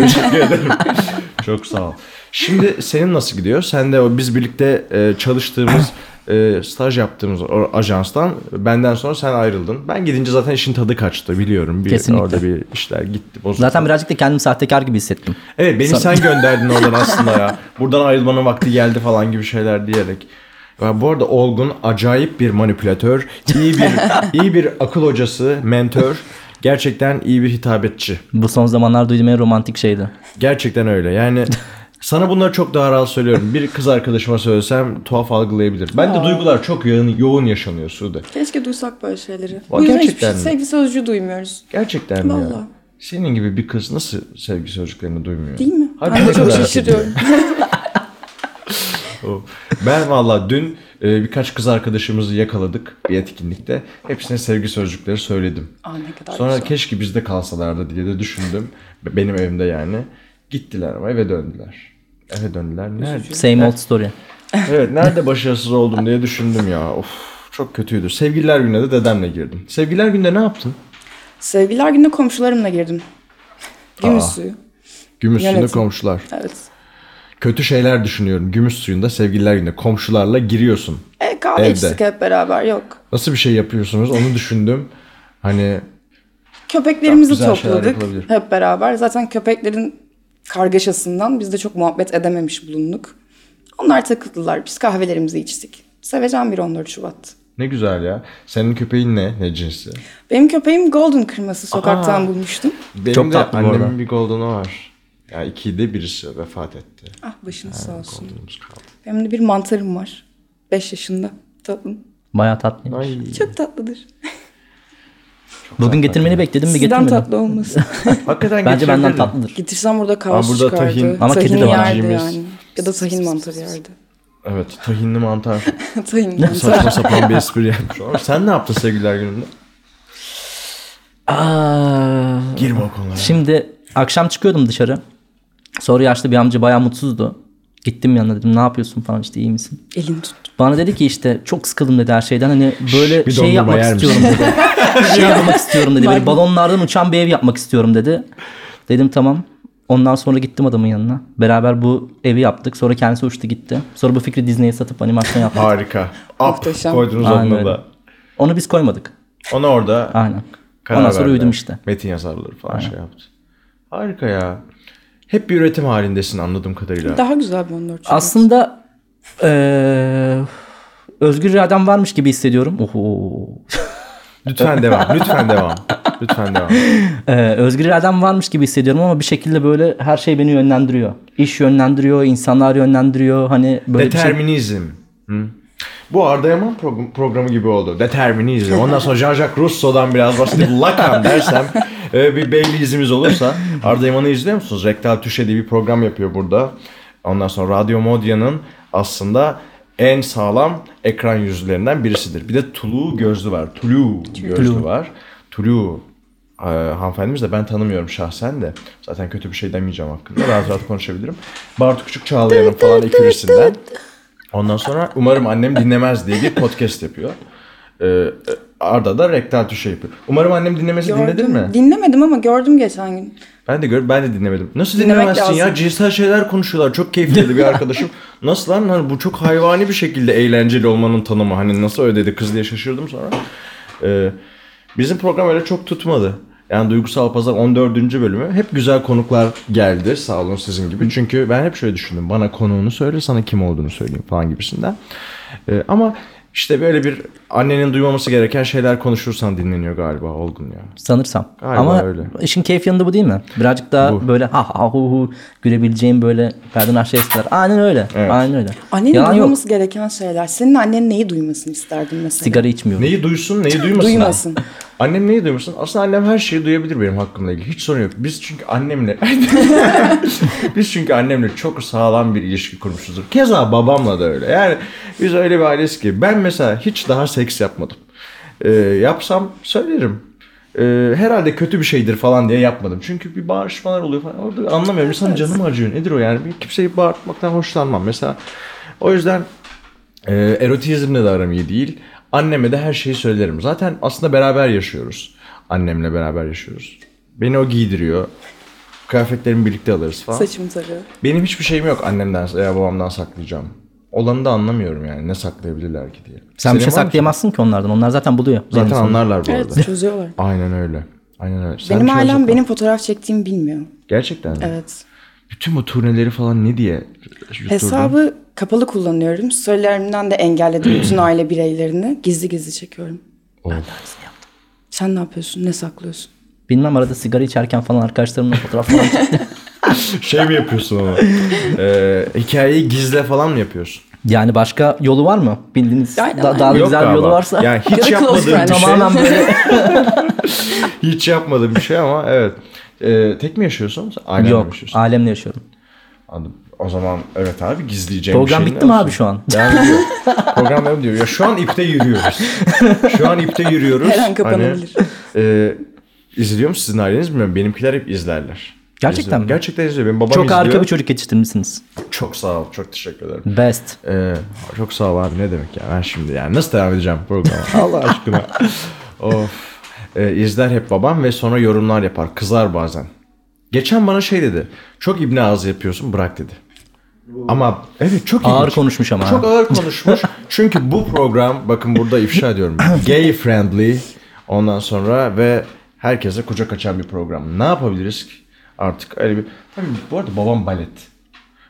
Speaker 4: Çok sağ ol. Şimdi senin nasıl gidiyor? Sen de o biz birlikte e, çalıştığımız, e, staj yaptığımız o ajanstan benden sonra sen ayrıldın. Ben gidince zaten işin tadı kaçtı biliyorum. Bir,
Speaker 3: Kesinlikle.
Speaker 4: Orada bir işler gitti. Bozuldu.
Speaker 3: Zaten birazcık da kendimi sahtekar gibi hissettim.
Speaker 4: Evet beni sen gönderdin oradan aslında ya. Buradan ayrılmanın vakti geldi falan gibi şeyler diyerek. Ya bu arada Olgun acayip bir manipülatör, iyi bir iyi bir akıl hocası, mentor, gerçekten iyi bir hitabetçi.
Speaker 3: Bu son zamanlar duyduğum en romantik şeydi.
Speaker 4: Gerçekten öyle. Yani sana bunları çok daha rahat söylüyorum. Bir kız arkadaşıma söylesem tuhaf algılayabilir. Ben de duygular çok yoğun, yoğun yaşanıyor Sude.
Speaker 5: Keşke duysak böyle şeyleri.
Speaker 4: Var,
Speaker 5: Bu yüzden hiçbir
Speaker 4: gerçekten
Speaker 5: şey,
Speaker 4: mi?
Speaker 5: sevgi sözcüğü duymuyoruz.
Speaker 4: Gerçekten mi ya?
Speaker 5: Vallahi.
Speaker 4: Senin gibi bir kız nasıl sevgi sözcüklerini duymuyor?
Speaker 5: Değil mi?
Speaker 4: Harbi
Speaker 5: ben
Speaker 4: ne
Speaker 5: de çok
Speaker 4: kadar-
Speaker 5: şaşırıyorum.
Speaker 4: Ben valla dün e, birkaç kız arkadaşımızı yakaladık bir etkinlikte. Hepsine sevgi sözcükleri söyledim.
Speaker 5: Aa ne kadar
Speaker 4: Sonra
Speaker 5: güzel.
Speaker 4: keşke bizde kalsalardı diye de düşündüm. Be- Benim evimde yani. Gittiler ama eve döndüler. Eve döndüler. Nerede?
Speaker 3: Same old story.
Speaker 4: Evet nerede başarısız oldum diye düşündüm ya. Of çok kötüydü. Sevgililer gününe de dedemle girdim. Sevgililer günde ne yaptın?
Speaker 5: Sevgililer gününe komşularımla girdim. Gümüş
Speaker 4: Aa.
Speaker 5: suyu.
Speaker 4: Gümüş suyunda
Speaker 5: Yönetim.
Speaker 4: komşular.
Speaker 5: Evet.
Speaker 4: Kötü şeyler düşünüyorum. Gümüş suyunda sevgililer günde komşularla giriyorsun.
Speaker 5: E, kahve
Speaker 4: Evde.
Speaker 5: içtik hep beraber yok.
Speaker 4: Nasıl bir şey yapıyorsunuz onu düşündüm. Hani
Speaker 5: Köpeklerimizi
Speaker 4: Güzel şeyler
Speaker 5: topladık
Speaker 4: yapılabilir.
Speaker 5: hep beraber. Zaten köpeklerin kargaşasından biz de çok muhabbet edememiş bulunduk. Onlar takıldılar. Biz kahvelerimizi içtik. Seveceğim bir 14 Şubat.
Speaker 4: ne güzel ya. Senin köpeğin ne? Ne cinsi?
Speaker 5: Benim köpeğim Golden kırması sokaktan bulmuştum.
Speaker 4: Benim
Speaker 3: Çok
Speaker 4: de
Speaker 3: tatlı bu
Speaker 4: annemin
Speaker 3: arada.
Speaker 4: bir golden'ı var. Ya yani ikide birisi vefat etti.
Speaker 5: Ah başınız sağ olsun.
Speaker 4: Golden'ımız kaldı.
Speaker 5: Benim de bir mantarım var. 5 yaşında. Tatlım.
Speaker 3: Bayağı tatlıymış.
Speaker 4: Ay.
Speaker 5: Çok tatlıdır.
Speaker 3: Bugün getirmeni bekledim mi
Speaker 5: Sizden
Speaker 3: getirmedin.
Speaker 5: tatlı olması.
Speaker 4: Hakikaten
Speaker 3: Bence benden
Speaker 4: getirebilirim.
Speaker 3: tatlıdır.
Speaker 5: Getirsem burada kaos
Speaker 4: Aa, burada
Speaker 5: çıkardı.
Speaker 4: tahin.
Speaker 3: Ama kedi de var.
Speaker 5: yerdi
Speaker 4: Cimriz.
Speaker 5: yani. Ya da tahin mantarı yerdi.
Speaker 4: Evet tahinli mantar.
Speaker 5: tahin mantarı.
Speaker 4: Saçma sapan bir espri yapmış. Ama sen ne yaptın sevgililer gününde?
Speaker 3: Aa,
Speaker 4: Girme o konulara.
Speaker 3: şimdi akşam çıkıyordum dışarı. Sonra yaşlı bir amca bayağı mutsuzdu. Gittim yanına dedim ne yapıyorsun falan işte iyi misin?
Speaker 5: Elini tut.
Speaker 3: Bana dedi ki işte çok sıkıldım dedi her şeyden hani böyle
Speaker 4: bir
Speaker 3: şey
Speaker 4: dondurma
Speaker 3: yapmak
Speaker 4: yer misin?
Speaker 3: istiyorum dedi. şey yapmak istiyorum dedi. Böyle balonlardan uçan bir ev yapmak istiyorum dedi. Dedim tamam. Ondan sonra gittim adamın yanına. Beraber bu evi yaptık. Sonra kendisi uçtu gitti. Sonra bu fikri Disney'e satıp animasyon yaptık.
Speaker 4: Harika. Up
Speaker 5: Muhteşem.
Speaker 4: koydunuz
Speaker 3: Aynen
Speaker 4: adını
Speaker 3: öyle.
Speaker 4: da.
Speaker 3: Onu biz koymadık.
Speaker 4: Onu orada
Speaker 3: Aynen.
Speaker 4: karar
Speaker 3: Ondan sonra
Speaker 4: verdiler.
Speaker 3: uyudum işte.
Speaker 4: Metin yazarları falan şey yaptı. Harika ya. Hep bir üretim halindesin anladığım kadarıyla.
Speaker 5: Daha güzel bir 14 Şubat.
Speaker 3: Aslında eee, özgür iradem varmış gibi hissediyorum. Oho.
Speaker 4: Lütfen devam. Lütfen devam. Lütfen devam.
Speaker 3: Eee, özgür iradem varmış gibi hissediyorum ama bir şekilde böyle her şey beni yönlendiriyor. İş yönlendiriyor, insanlar yönlendiriyor. Hani böyle bir şey-
Speaker 4: Determinizm. Hı? Bu Arda Yaman pro- programı gibi oldu. Determinizm. Ondan sonra Jean-Jacques Rousseau'dan biraz bahsedip Lacan dersem e, bir belli izimiz olursa. Arda Yaman'ı izliyor musunuz? Rektal Tüşe diye bir program yapıyor burada. Ondan sonra Radyo Modya'nın aslında en sağlam ekran yüzlerinden birisidir. Bir de Tulu gözlü var. Tulu gözlü var. Tulu e, hanımefendimiz de ben tanımıyorum şahsen de. Zaten kötü bir şey demeyeceğim hakkında. Rahat rahat konuşabilirim. Bartu Küçük Çağlayan'ın falan ekürisinden. Ondan sonra umarım annem dinlemez diye bir podcast yapıyor. Ee, Arda da rektal tuşu yapıyor. Umarım annem dinlemesi dinledin mi?
Speaker 5: Dinlemedim ama gördüm geçen gün.
Speaker 4: ben de gör, ben de dinlemedim. Nasıl
Speaker 5: Dinlemek
Speaker 4: dinlemezsin ya?
Speaker 5: lazım.
Speaker 4: Cinsel şeyler konuşuyorlar. Çok keyifliydi bir arkadaşım. Nasıl lan? Hani bu çok hayvani bir şekilde eğlenceli olmanın tanımı. Hani nasıl öyle dedi kız diye şaşırdım sonra. Ee, bizim program öyle çok tutmadı. Yani Duygusal Pazar 14. bölümü. Hep güzel konuklar geldi sağ olun sizin gibi. Çünkü ben hep şöyle düşündüm. Bana konuğunu söyle sana kim olduğunu söyleyeyim falan gibisinden. Ee, ama işte böyle bir annenin duymaması gereken şeyler konuşursan dinleniyor galiba Olgun ya.
Speaker 3: sanırsam.
Speaker 4: Galiba
Speaker 3: ama
Speaker 4: öyle.
Speaker 3: işin keyfi yanında bu değil mi? Birazcık daha
Speaker 4: Bu.
Speaker 3: böyle ha ha hu hu gülebileceğim böyle perden aşağı eskiler. Aynen öyle.
Speaker 4: Evet.
Speaker 3: Aynen öyle.
Speaker 5: Annenin
Speaker 3: Yalan yok.
Speaker 5: duymaması gereken şeyler. Senin annen neyi duymasını isterdin mesela?
Speaker 3: Sigara içmiyorum.
Speaker 4: Neyi duysun neyi duymasın.
Speaker 5: Duymasın.
Speaker 4: Annem neyi duymasın? Aslında annem her şeyi duyabilir benim hakkımla ilgili. Hiç sorun yok. Biz çünkü annemle... biz çünkü annemle çok sağlam bir ilişki kurmuşuzdur. Keza babamla da öyle. Yani biz öyle bir aileyiz ki. Ben mesela hiç daha seks yapmadım. Ee, yapsam söylerim. Ee, herhalde kötü bir şeydir falan diye yapmadım. Çünkü bir bağırışmalar oluyor falan. Orada anlamıyorum. İnsanın canım acıyor. Nedir o yani? Bir kimseyi bağırtmaktan hoşlanmam. Mesela o yüzden ee, erotizmle de aram iyi değil. Anneme de her şeyi söylerim. Zaten aslında beraber yaşıyoruz. Annemle beraber yaşıyoruz. Beni o giydiriyor. Kıyafetlerimi birlikte alırız falan.
Speaker 5: Saçım sarı.
Speaker 4: Benim hiçbir şeyim yok annemden veya babamdan saklayacağım. Olanı da anlamıyorum yani. Ne saklayabilirler ki diye.
Speaker 3: Sen bir şey
Speaker 4: Senin var mı?
Speaker 3: saklayamazsın ki onlardan. Onlar zaten buluyor.
Speaker 4: Zaten
Speaker 3: Benim sanırım.
Speaker 4: anlarlar bu arada.
Speaker 5: Evet çözüyorlar.
Speaker 4: Aynen öyle. Aynen öyle. Sen
Speaker 5: Benim
Speaker 4: bir şey
Speaker 5: ailem
Speaker 4: olacak
Speaker 5: benim
Speaker 4: mı?
Speaker 5: fotoğraf çektiğimi bilmiyor.
Speaker 4: Gerçekten mi?
Speaker 5: Evet.
Speaker 4: Bütün bu turneleri falan ne diye yutturdun?
Speaker 5: Hesabı kapalı kullanıyorum. Söylerimden de engelledim bütün aile bireylerini. Gizli gizli çekiyorum.
Speaker 4: Oh.
Speaker 5: Sen ne yapıyorsun? Ne saklıyorsun?
Speaker 3: Bilmem arada sigara içerken falan arkadaşlarımla fotoğraf falan çektim.
Speaker 4: Şey mi yapıyorsun ama? Ee, hikayeyi gizle falan mı yapıyorsun?
Speaker 3: Yani başka yolu var mı? Bildiğiniz
Speaker 5: Aynen,
Speaker 3: da- daha
Speaker 4: Yok
Speaker 3: güzel bir
Speaker 4: galiba.
Speaker 3: yolu varsa.
Speaker 4: Yani
Speaker 5: Ya da
Speaker 4: hiç
Speaker 5: close
Speaker 4: yapmadığım bir
Speaker 5: friend.
Speaker 4: şey.
Speaker 3: Tamamen böyle.
Speaker 4: Hiç yapmadığım bir şey ama evet. Ee, tek mi yaşıyorsun? Ailenle mi
Speaker 3: Yok.
Speaker 4: yaşıyorsun?
Speaker 3: Alemle yaşıyorum.
Speaker 4: Anladım. O zaman evet abi gizleyeceğim bir
Speaker 3: Program
Speaker 4: şeyin
Speaker 3: bitti mi
Speaker 4: olsun.
Speaker 3: abi şu an?
Speaker 4: Yani diyor. Program devam diyor. Ya şu an ipte yürüyoruz. Şu an ipte yürüyoruz.
Speaker 5: Her an kapanabilir.
Speaker 4: Hani, e, izliyor mu sizin aileniz bilmiyorum. Benimkiler hep izlerler.
Speaker 3: Gerçekten mi?
Speaker 4: Gerçekten izliyor. Benim babam
Speaker 3: Çok
Speaker 4: izliyor.
Speaker 3: harika bir çocuk yetiştirmişsiniz.
Speaker 4: Çok sağ ol. Çok teşekkür ederim.
Speaker 3: Best.
Speaker 4: Ee, çok sağ ol abi ne demek ya ben şimdi yani nasıl devam edeceğim programa Allah aşkına of Ee, izler hep babam ve sonra yorumlar yapar kızar bazen geçen bana şey dedi çok ibne ağzı yapıyorsun bırak dedi ama evet çok
Speaker 3: Ağır
Speaker 4: ilginç.
Speaker 3: konuşmuş ama.
Speaker 4: çok ağır konuşmuş çünkü bu program bakın burada ifşa ediyorum gay friendly ondan sonra ve herkese kucak açan bir program ne yapabiliriz ki artık öyle bir Tabii bu arada babam balet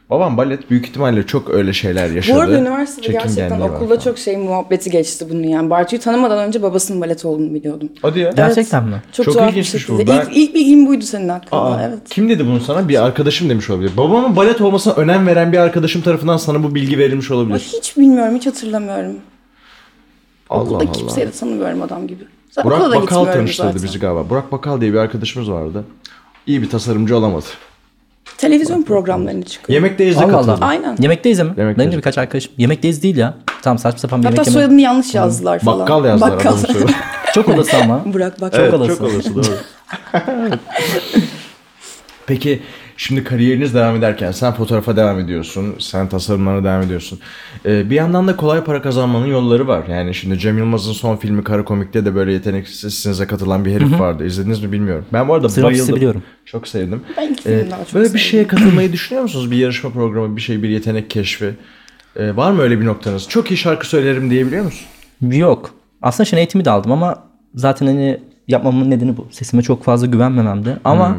Speaker 4: Babam balet büyük ihtimalle çok öyle şeyler yaşadı.
Speaker 5: Bu arada üniversitede
Speaker 4: Çekingenliği
Speaker 5: gerçekten
Speaker 4: var
Speaker 5: okulda
Speaker 4: falan.
Speaker 5: çok şey muhabbeti geçti bunun yani. Bartu'yu tanımadan önce babasının balet olduğunu biliyordum.
Speaker 4: Hadi ya.
Speaker 3: Gerçekten mi?
Speaker 5: Çok,
Speaker 4: Çok
Speaker 5: tuhaf bir
Speaker 4: ilginçmiş bu.
Speaker 5: şekilde.
Speaker 4: Ben-
Speaker 5: İlk, ilk bilgim buydu senin hakkında.
Speaker 4: Aa,
Speaker 5: evet.
Speaker 4: Kim dedi bunu sana? Bir arkadaşım demiş olabilir. Babamın balet olmasına önem veren bir arkadaşım tarafından sana bu bilgi verilmiş
Speaker 5: Ama
Speaker 4: olabilir.
Speaker 5: hiç bilmiyorum, hiç hatırlamıyorum.
Speaker 4: Allah
Speaker 5: Okulda
Speaker 4: Allah.
Speaker 5: kimseyi de tanımıyorum adam gibi. Zaten
Speaker 4: Burak
Speaker 5: okula da
Speaker 4: Bakal
Speaker 5: gitmiyorum
Speaker 4: tanıştırdı
Speaker 5: zaten.
Speaker 4: bizi galiba. Burak Bakal diye bir arkadaşımız vardı. İyi bir tasarımcı olamadı.
Speaker 5: Televizyon programlarına çıkıyor.
Speaker 4: Yemekteyiz de
Speaker 3: Allah
Speaker 4: katıldı.
Speaker 3: Allah.
Speaker 5: Aynen.
Speaker 3: Yemekteyiz mi?
Speaker 4: Yemekteyiz.
Speaker 3: Benim de birkaç arkadaşım. Yemekteyiz değil ya. Tamam saçma sapan bir
Speaker 5: Hatta
Speaker 3: yemek yeme.
Speaker 5: soyadını yanlış yazdılar falan.
Speaker 4: Bakkal yazdılar
Speaker 5: Bakkal.
Speaker 4: adamın soyadı.
Speaker 3: Çok olası ama.
Speaker 5: Burak Bakkal.
Speaker 3: Evet.
Speaker 4: Çok olası doğru. Peki şimdi kariyeriniz devam ederken sen fotoğrafa devam ediyorsun, sen tasarımlara devam ediyorsun. Ee, bir yandan da kolay para kazanmanın yolları var. Yani şimdi Cem Yılmaz'ın son filmi Kara Komik'te de böyle yeteneksizsinize katılan bir herif vardı. İzlediniz mi bilmiyorum. Ben bu arada
Speaker 3: Sinopsis'i
Speaker 4: bayıldım.
Speaker 3: biliyorum.
Speaker 4: Çok sevdim.
Speaker 5: Ben ilk
Speaker 3: Ee,
Speaker 5: filmi daha çok
Speaker 4: böyle
Speaker 5: sevdim.
Speaker 4: bir
Speaker 3: şey-
Speaker 4: şeye katılmayı düşünüyor musunuz? Bir yarışma programı, bir şey, bir yetenek keşfi. Ee, var mı öyle bir noktanız? Çok iyi şarkı söylerim diyebiliyor musun?
Speaker 3: Yok. Aslında şan eğitimi de aldım ama zaten hani yapmamın nedeni bu. Sesime çok fazla güvenmememdi. Ama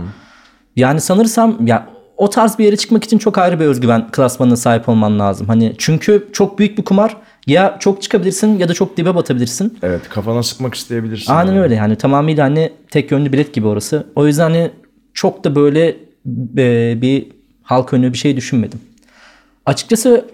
Speaker 3: yani sanırsam ya o tarz bir yere çıkmak için çok ayrı bir özgüven klasmanına sahip olman lazım. Hani çünkü çok büyük bir kumar. Ya çok çıkabilirsin ya da çok dibe batabilirsin.
Speaker 4: Evet, kafana sıkmak isteyebilirsin.
Speaker 3: Aynen
Speaker 4: Yani.
Speaker 3: öyle yani tamamıyla hani tek yönlü bilet gibi orası. O yüzden hani çok da böyle e, bir halk önü bir şey düşünmedim. Açıkçası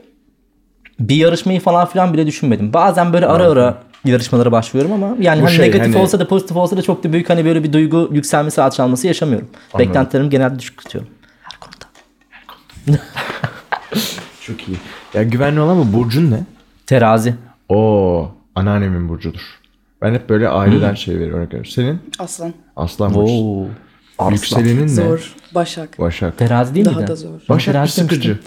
Speaker 3: bir yarışmayı falan filan bile düşünmedim. Bazen böyle ara ara yarışmalara başvuyorum ama yani
Speaker 4: Bu
Speaker 3: hani
Speaker 4: şey,
Speaker 3: negatif
Speaker 4: hani-
Speaker 3: olsa da pozitif olsa da çok da büyük hani böyle bir duygu yükselmesi alçalması yaşamıyorum. Beklentilerimi genelde düşük tutuyorum. Her konuda.
Speaker 4: Çok iyi. Ya güvenli olan mı? Burcun ne?
Speaker 3: Terazi.
Speaker 4: O anneannemin burcudur. Ben hep böyle aileden şey veriyorum. örnek veriyorum. Senin
Speaker 5: Aslan.
Speaker 4: aslan burcu.
Speaker 3: Oo. Arslan.
Speaker 4: Yükselenin ne?
Speaker 5: Zor. Başak.
Speaker 4: Başak.
Speaker 3: Terazi değil
Speaker 5: Daha
Speaker 3: miydi?
Speaker 5: da zor.
Speaker 3: Ben
Speaker 4: Başak bir
Speaker 3: terazi demiştim.
Speaker 4: sıkıcı.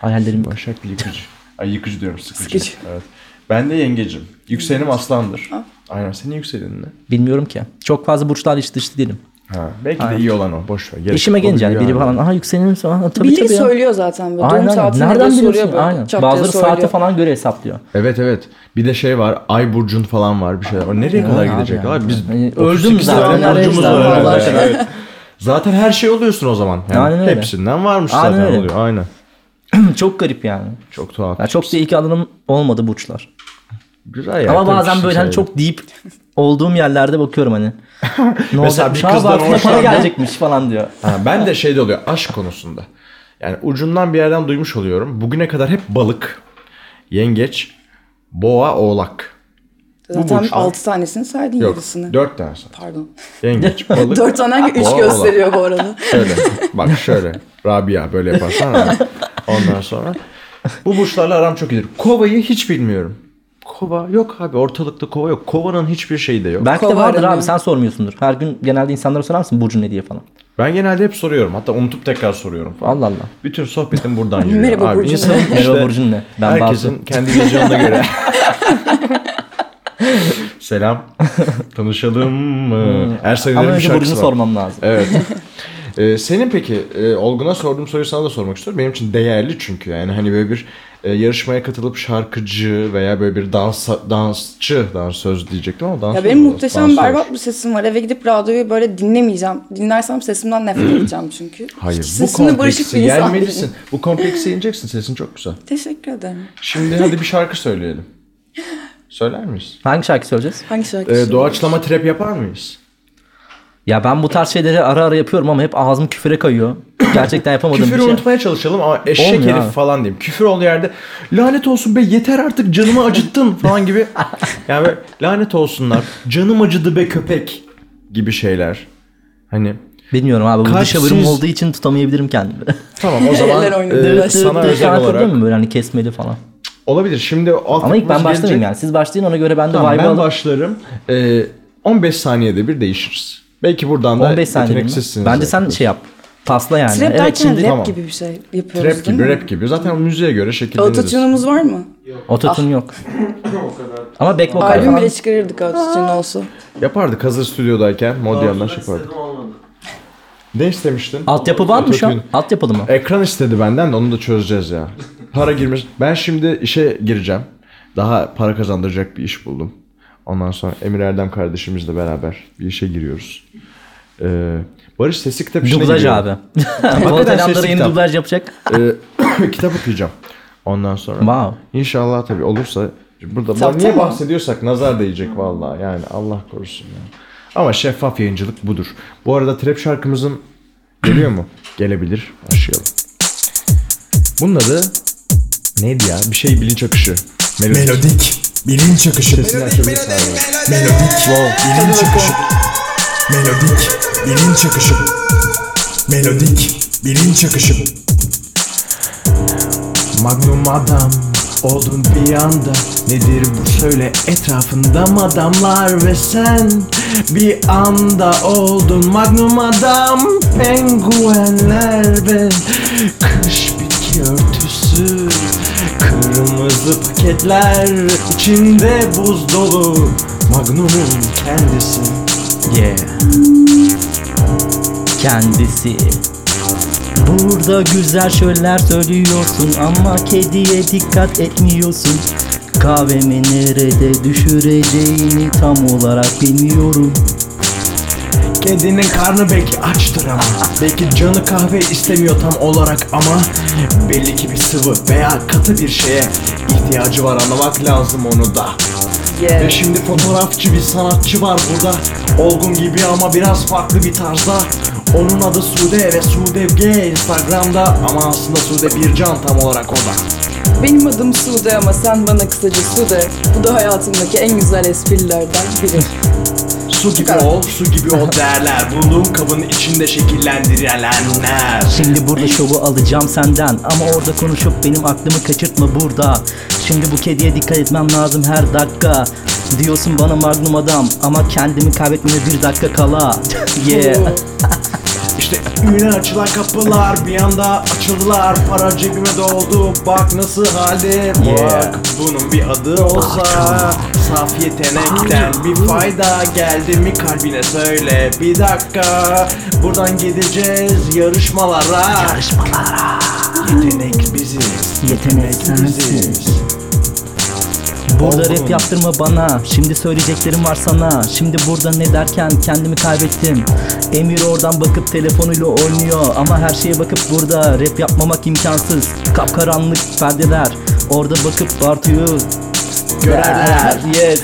Speaker 3: Hayallerim var.
Speaker 4: Başak bir yıkıcı. Ay yıkıcı diyorum sıkıcı.
Speaker 5: Sıkıcı.
Speaker 4: Evet. Ben de yengecim. Yükselenim aslandır. Aynen senin yükselenin ne?
Speaker 3: Bilmiyorum ki. Çok fazla burçlarla içli dışlı değilim.
Speaker 4: Ha, belki de iyi olan o. Boş ver. Gerek
Speaker 3: İşime
Speaker 4: yok.
Speaker 3: gelince yani
Speaker 4: Oluyor
Speaker 3: biri
Speaker 4: abi.
Speaker 3: falan aha yükselenim falan. Ha, Tabii
Speaker 5: Bildiği
Speaker 3: tabii ya.
Speaker 5: söylüyor zaten. Böyle. Doğum
Speaker 3: Aynen.
Speaker 5: saatini
Speaker 3: Nereden
Speaker 5: de
Speaker 3: biliyorsun?
Speaker 5: soruyor böyle.
Speaker 3: Aynen.
Speaker 5: Çat diye
Speaker 3: Bazıları saate
Speaker 5: söylüyor.
Speaker 3: falan göre hesaplıyor.
Speaker 4: Evet evet. Bir de şey var. Ay burcun falan var. Bir şeyler var. Nereye kadar
Speaker 3: abi
Speaker 4: gidecek?
Speaker 3: yani.
Speaker 4: Abi biz
Speaker 3: Yani öldüm
Speaker 4: 38
Speaker 3: zaten,
Speaker 4: tane burcumuz
Speaker 3: arayacağız
Speaker 4: var.
Speaker 3: Allah
Speaker 4: herhalde. Evet. Zaten her şey oluyorsun o zaman. Yani
Speaker 3: Aynen öyle.
Speaker 4: Hepsinden varmış
Speaker 3: Aynen
Speaker 4: zaten
Speaker 3: öyle.
Speaker 4: oluyor. Aynen.
Speaker 5: Hmm,
Speaker 3: çok garip yani.
Speaker 4: Çok tuhaf.
Speaker 3: Ya çok da ilk alanım olmadı burçlar.
Speaker 4: Güzel ya.
Speaker 3: Ama
Speaker 4: tabii şey
Speaker 3: bazen böyle hani
Speaker 4: kişisel.
Speaker 3: çok deyip olduğum yerlerde bakıyorum hani. Ne
Speaker 4: Mesela
Speaker 3: olacakmış?
Speaker 4: bir
Speaker 3: Ha
Speaker 4: kızdan
Speaker 3: baktığında para
Speaker 4: hoşlandın.
Speaker 3: gelecekmiş falan diyor.
Speaker 4: Ha, ben de şey de oluyor aşk konusunda. Yani ucundan bir yerden duymuş oluyorum. Bugüne kadar hep balık, yengeç, boğa, oğlak.
Speaker 5: Zaten
Speaker 4: burçlar.
Speaker 5: 6 tanesini saydın
Speaker 4: Yok.
Speaker 5: yarısını.
Speaker 4: Dört tane sadece.
Speaker 5: Pardon.
Speaker 4: Yengeç, balık.
Speaker 5: 4 tane 3
Speaker 4: boğa, oğlak.
Speaker 5: gösteriyor bu arada.
Speaker 4: Şöyle. Bak şöyle. Rabia böyle yaparsan. ha. Ondan sonra. Bu burçlarla aram çok iyidir. Kovayı hiç bilmiyorum. Kova yok abi ortalıkta kova yok. Kovanın hiçbir şeyi de yok. Ben,
Speaker 3: Belki de
Speaker 5: Kovar
Speaker 3: vardır
Speaker 5: deniyor.
Speaker 3: abi sen sormuyorsundur. Her gün genelde insanlara sorar mısın Burcu ne diye falan.
Speaker 4: genelde hep soruyorum. Hatta unutup tekrar soruyorum. falan.
Speaker 3: Allah Allah.
Speaker 4: Bütün sohbetim buradan yürüyor.
Speaker 5: Merhaba
Speaker 4: abi.
Speaker 5: Burcu.
Speaker 4: İnsanın
Speaker 3: Merhaba
Speaker 4: işte-
Speaker 3: Burcu'nun ne? Ben
Speaker 4: Herkesin
Speaker 3: Herkesin...
Speaker 4: kendi vizyonuna göre. Selam. Tanışalım mı? Ersoy'un
Speaker 3: Hmm. Ama
Speaker 4: bir
Speaker 3: önce
Speaker 4: şarkısı
Speaker 3: Burcu'nu
Speaker 4: var.
Speaker 3: sormam lazım.
Speaker 4: Evet. Ee, senin peki e, Olgun'a sorduğum soruyu sana da sormak istiyorum. Benim için değerli çünkü yani hani böyle bir e, yarışmaya katılıp şarkıcı veya böyle bir dans dansçı dansöz diyecektim ama dansöz
Speaker 5: Ya benim
Speaker 4: olmaz,
Speaker 5: muhteşem
Speaker 4: dansöz.
Speaker 5: berbat bir sesim var. Eve gidip radyoyu böyle dinlemeyeceğim. Dinlersem sesimden nefret edeceğim çünkü.
Speaker 4: Hmm. Hayır
Speaker 5: Hiç
Speaker 4: bu
Speaker 5: sesimle barışık
Speaker 4: kompleksi
Speaker 5: bir insan değilim.
Speaker 4: yenmelisin. Bu kompleksi ineceksin sesin çok güzel.
Speaker 5: Teşekkür ederim.
Speaker 4: Şimdi hadi bir şarkı söyleyelim. Söyler miyiz?
Speaker 3: Hangi şarkı söyleyeceğiz?
Speaker 5: Hangi şarkı?
Speaker 4: Ee,
Speaker 5: söylüyorsun?
Speaker 4: doğaçlama trap yapar mıyız?
Speaker 3: Ya ben bu tarz şeyleri ara ara yapıyorum ama hep ağzım küfre kayıyor. Gerçekten yapamadığım bir
Speaker 4: Küfür
Speaker 3: şey.
Speaker 4: unutmaya çalışalım ama eşek
Speaker 3: Olmuyor
Speaker 4: herif
Speaker 3: abi.
Speaker 4: falan diyeyim. Küfür olduğu yerde lanet olsun be yeter artık canımı acıttın falan gibi. Yani böyle, lanet olsunlar canım acıdı be köpek gibi şeyler. Hani
Speaker 3: Bilmiyorum abi bu
Speaker 4: Kalpsiz-
Speaker 3: dış haberim olduğu için tutamayabilirim kendimi.
Speaker 4: tamam o zaman
Speaker 5: Eller oynadı.
Speaker 4: e,
Speaker 5: Evet,
Speaker 4: sana
Speaker 3: Dırt dırt
Speaker 4: özel
Speaker 3: anlatıldı
Speaker 4: olarak
Speaker 3: mı böyle hani kesmeli falan.
Speaker 4: olabilir. Şimdi alt
Speaker 3: Ama ilk ben
Speaker 4: gelecek.
Speaker 3: başlamayayım yani. Siz başlayın ona göre ben de
Speaker 4: Tamam,
Speaker 3: vibe'ı
Speaker 4: ben
Speaker 3: alıp
Speaker 4: başlarım. Ee, 15 saniyede bir değişiriz. Belki buradan da
Speaker 3: 15 saniye mi?
Speaker 4: yeteneksizsiniz
Speaker 3: Bence sen
Speaker 4: arkadaşlar.
Speaker 3: şey yap. Tasla yani.
Speaker 5: Trap
Speaker 3: evet
Speaker 5: derken
Speaker 3: şimdi
Speaker 5: rap
Speaker 4: tamam.
Speaker 5: gibi bir şey yapıyoruz
Speaker 4: Rap
Speaker 5: değil
Speaker 4: gibi,
Speaker 5: mi?
Speaker 4: rap gibi. Zaten müziğe göre şekilleniriz.
Speaker 5: Autotune'umuz var mı?
Speaker 3: ototun yok. Ama back vocal
Speaker 5: Ah. Albüm
Speaker 3: falan.
Speaker 5: bile çıkarırdık autotune olsa.
Speaker 4: Yapardık hazır stüdyodayken. Mod yandaş yapardık. Ne istemiştin?
Speaker 3: Altyapı var mı şu an?
Speaker 4: Autotune.
Speaker 3: Altyapılı mı?
Speaker 4: Ekran istedi benden de onu da çözeceğiz ya. Para girmiş. Ben şimdi işe gireceğim. Daha para kazandıracak bir iş buldum. Ondan sonra Emir Erdem kardeşimizle beraber bir işe giriyoruz. Ee, Barış sesi kitap işine
Speaker 3: Dublaj
Speaker 4: giriyor.
Speaker 3: abi. Voltaire'ları
Speaker 4: sesli
Speaker 3: yeni
Speaker 4: kitap.
Speaker 3: dublaj yapacak.
Speaker 4: Ee, kitap okuyacağım. Ondan sonra.
Speaker 3: Wow.
Speaker 4: İnşallah tabii olursa. Burada
Speaker 5: Kitaptan
Speaker 4: Ulan niye
Speaker 5: mı?
Speaker 4: bahsediyorsak nazar değecek vallahi yani Allah korusun ya. Ama şeffaf yayıncılık budur. Bu arada trap şarkımızın geliyor mu? Gelebilir. Başlayalım. Bunun adı neydi ya? Bir şey bilinç akışı. Melodi.
Speaker 6: Melodik bilinç akışı.
Speaker 4: Sesini açabilirsin abi.
Speaker 6: Melodik bilinç akışı. Melodik bilinç akışı. Melodik bilinç akışı. Magnum adam oldun bir anda Nedir bu söyle etrafında mı adamlar ve sen Bir anda oldun magnum adam Penguenler ve kış bitki örtüsü Kırmızı paketler içinde buz dolu Magnum'un kendisi
Speaker 3: Yeah. Kendisi. Burada güzel şeyler söylüyorsun ama kediye dikkat etmiyorsun. Kahvemi nerede düşüreceğini tam olarak bilmiyorum.
Speaker 6: Kedinin karnı belki açtır ama Belki canı kahve istemiyor tam olarak ama Belli ki bir sıvı veya katı bir şeye ihtiyacı var anlamak lazım onu da Ve şimdi fotoğrafçı bir sanatçı var burada Olgun gibi ama biraz farklı bir tarzda Onun adı Sude ve Sudev G Instagram'da Ama aslında Sude Bircan tam olarak o da
Speaker 7: Benim adım Sude ama sen bana kısaca Sude. Bu da hayatımdaki en güzel esprilerden biri.
Speaker 6: Su gibi ol, su gibi ol derler Bulunduğum kabın içinde şekillendirilenler
Speaker 3: Şimdi burada şovu alacağım senden Ama orada konuşup benim aklımı kaçırtma burada Şimdi bu kediye dikkat etmem lazım her dakika Diyorsun bana magnum adam Ama kendimi kaybetmene bir dakika kala Yeah
Speaker 6: İşte önüne açılan kapılar bir anda açıldılar Para cebime doldu bak nasıl hali Bak bunun bir adı olsa Saf yetenekten bir fayda geldi mi kalbine söyle Bir dakika buradan gideceğiz yarışmalara Yarışmalara Yetenek biziz
Speaker 3: Yetenek sensiz Burada rap yaptırma bana Şimdi söyleyeceklerim var sana Şimdi burada ne derken kendimi kaybettim Emir oradan bakıp telefonuyla oynuyor Ama her şeye bakıp burada Rap yapmamak imkansız Kapkaranlık perdeler Orada bakıp Bartu'yu
Speaker 6: Görerler
Speaker 3: Yes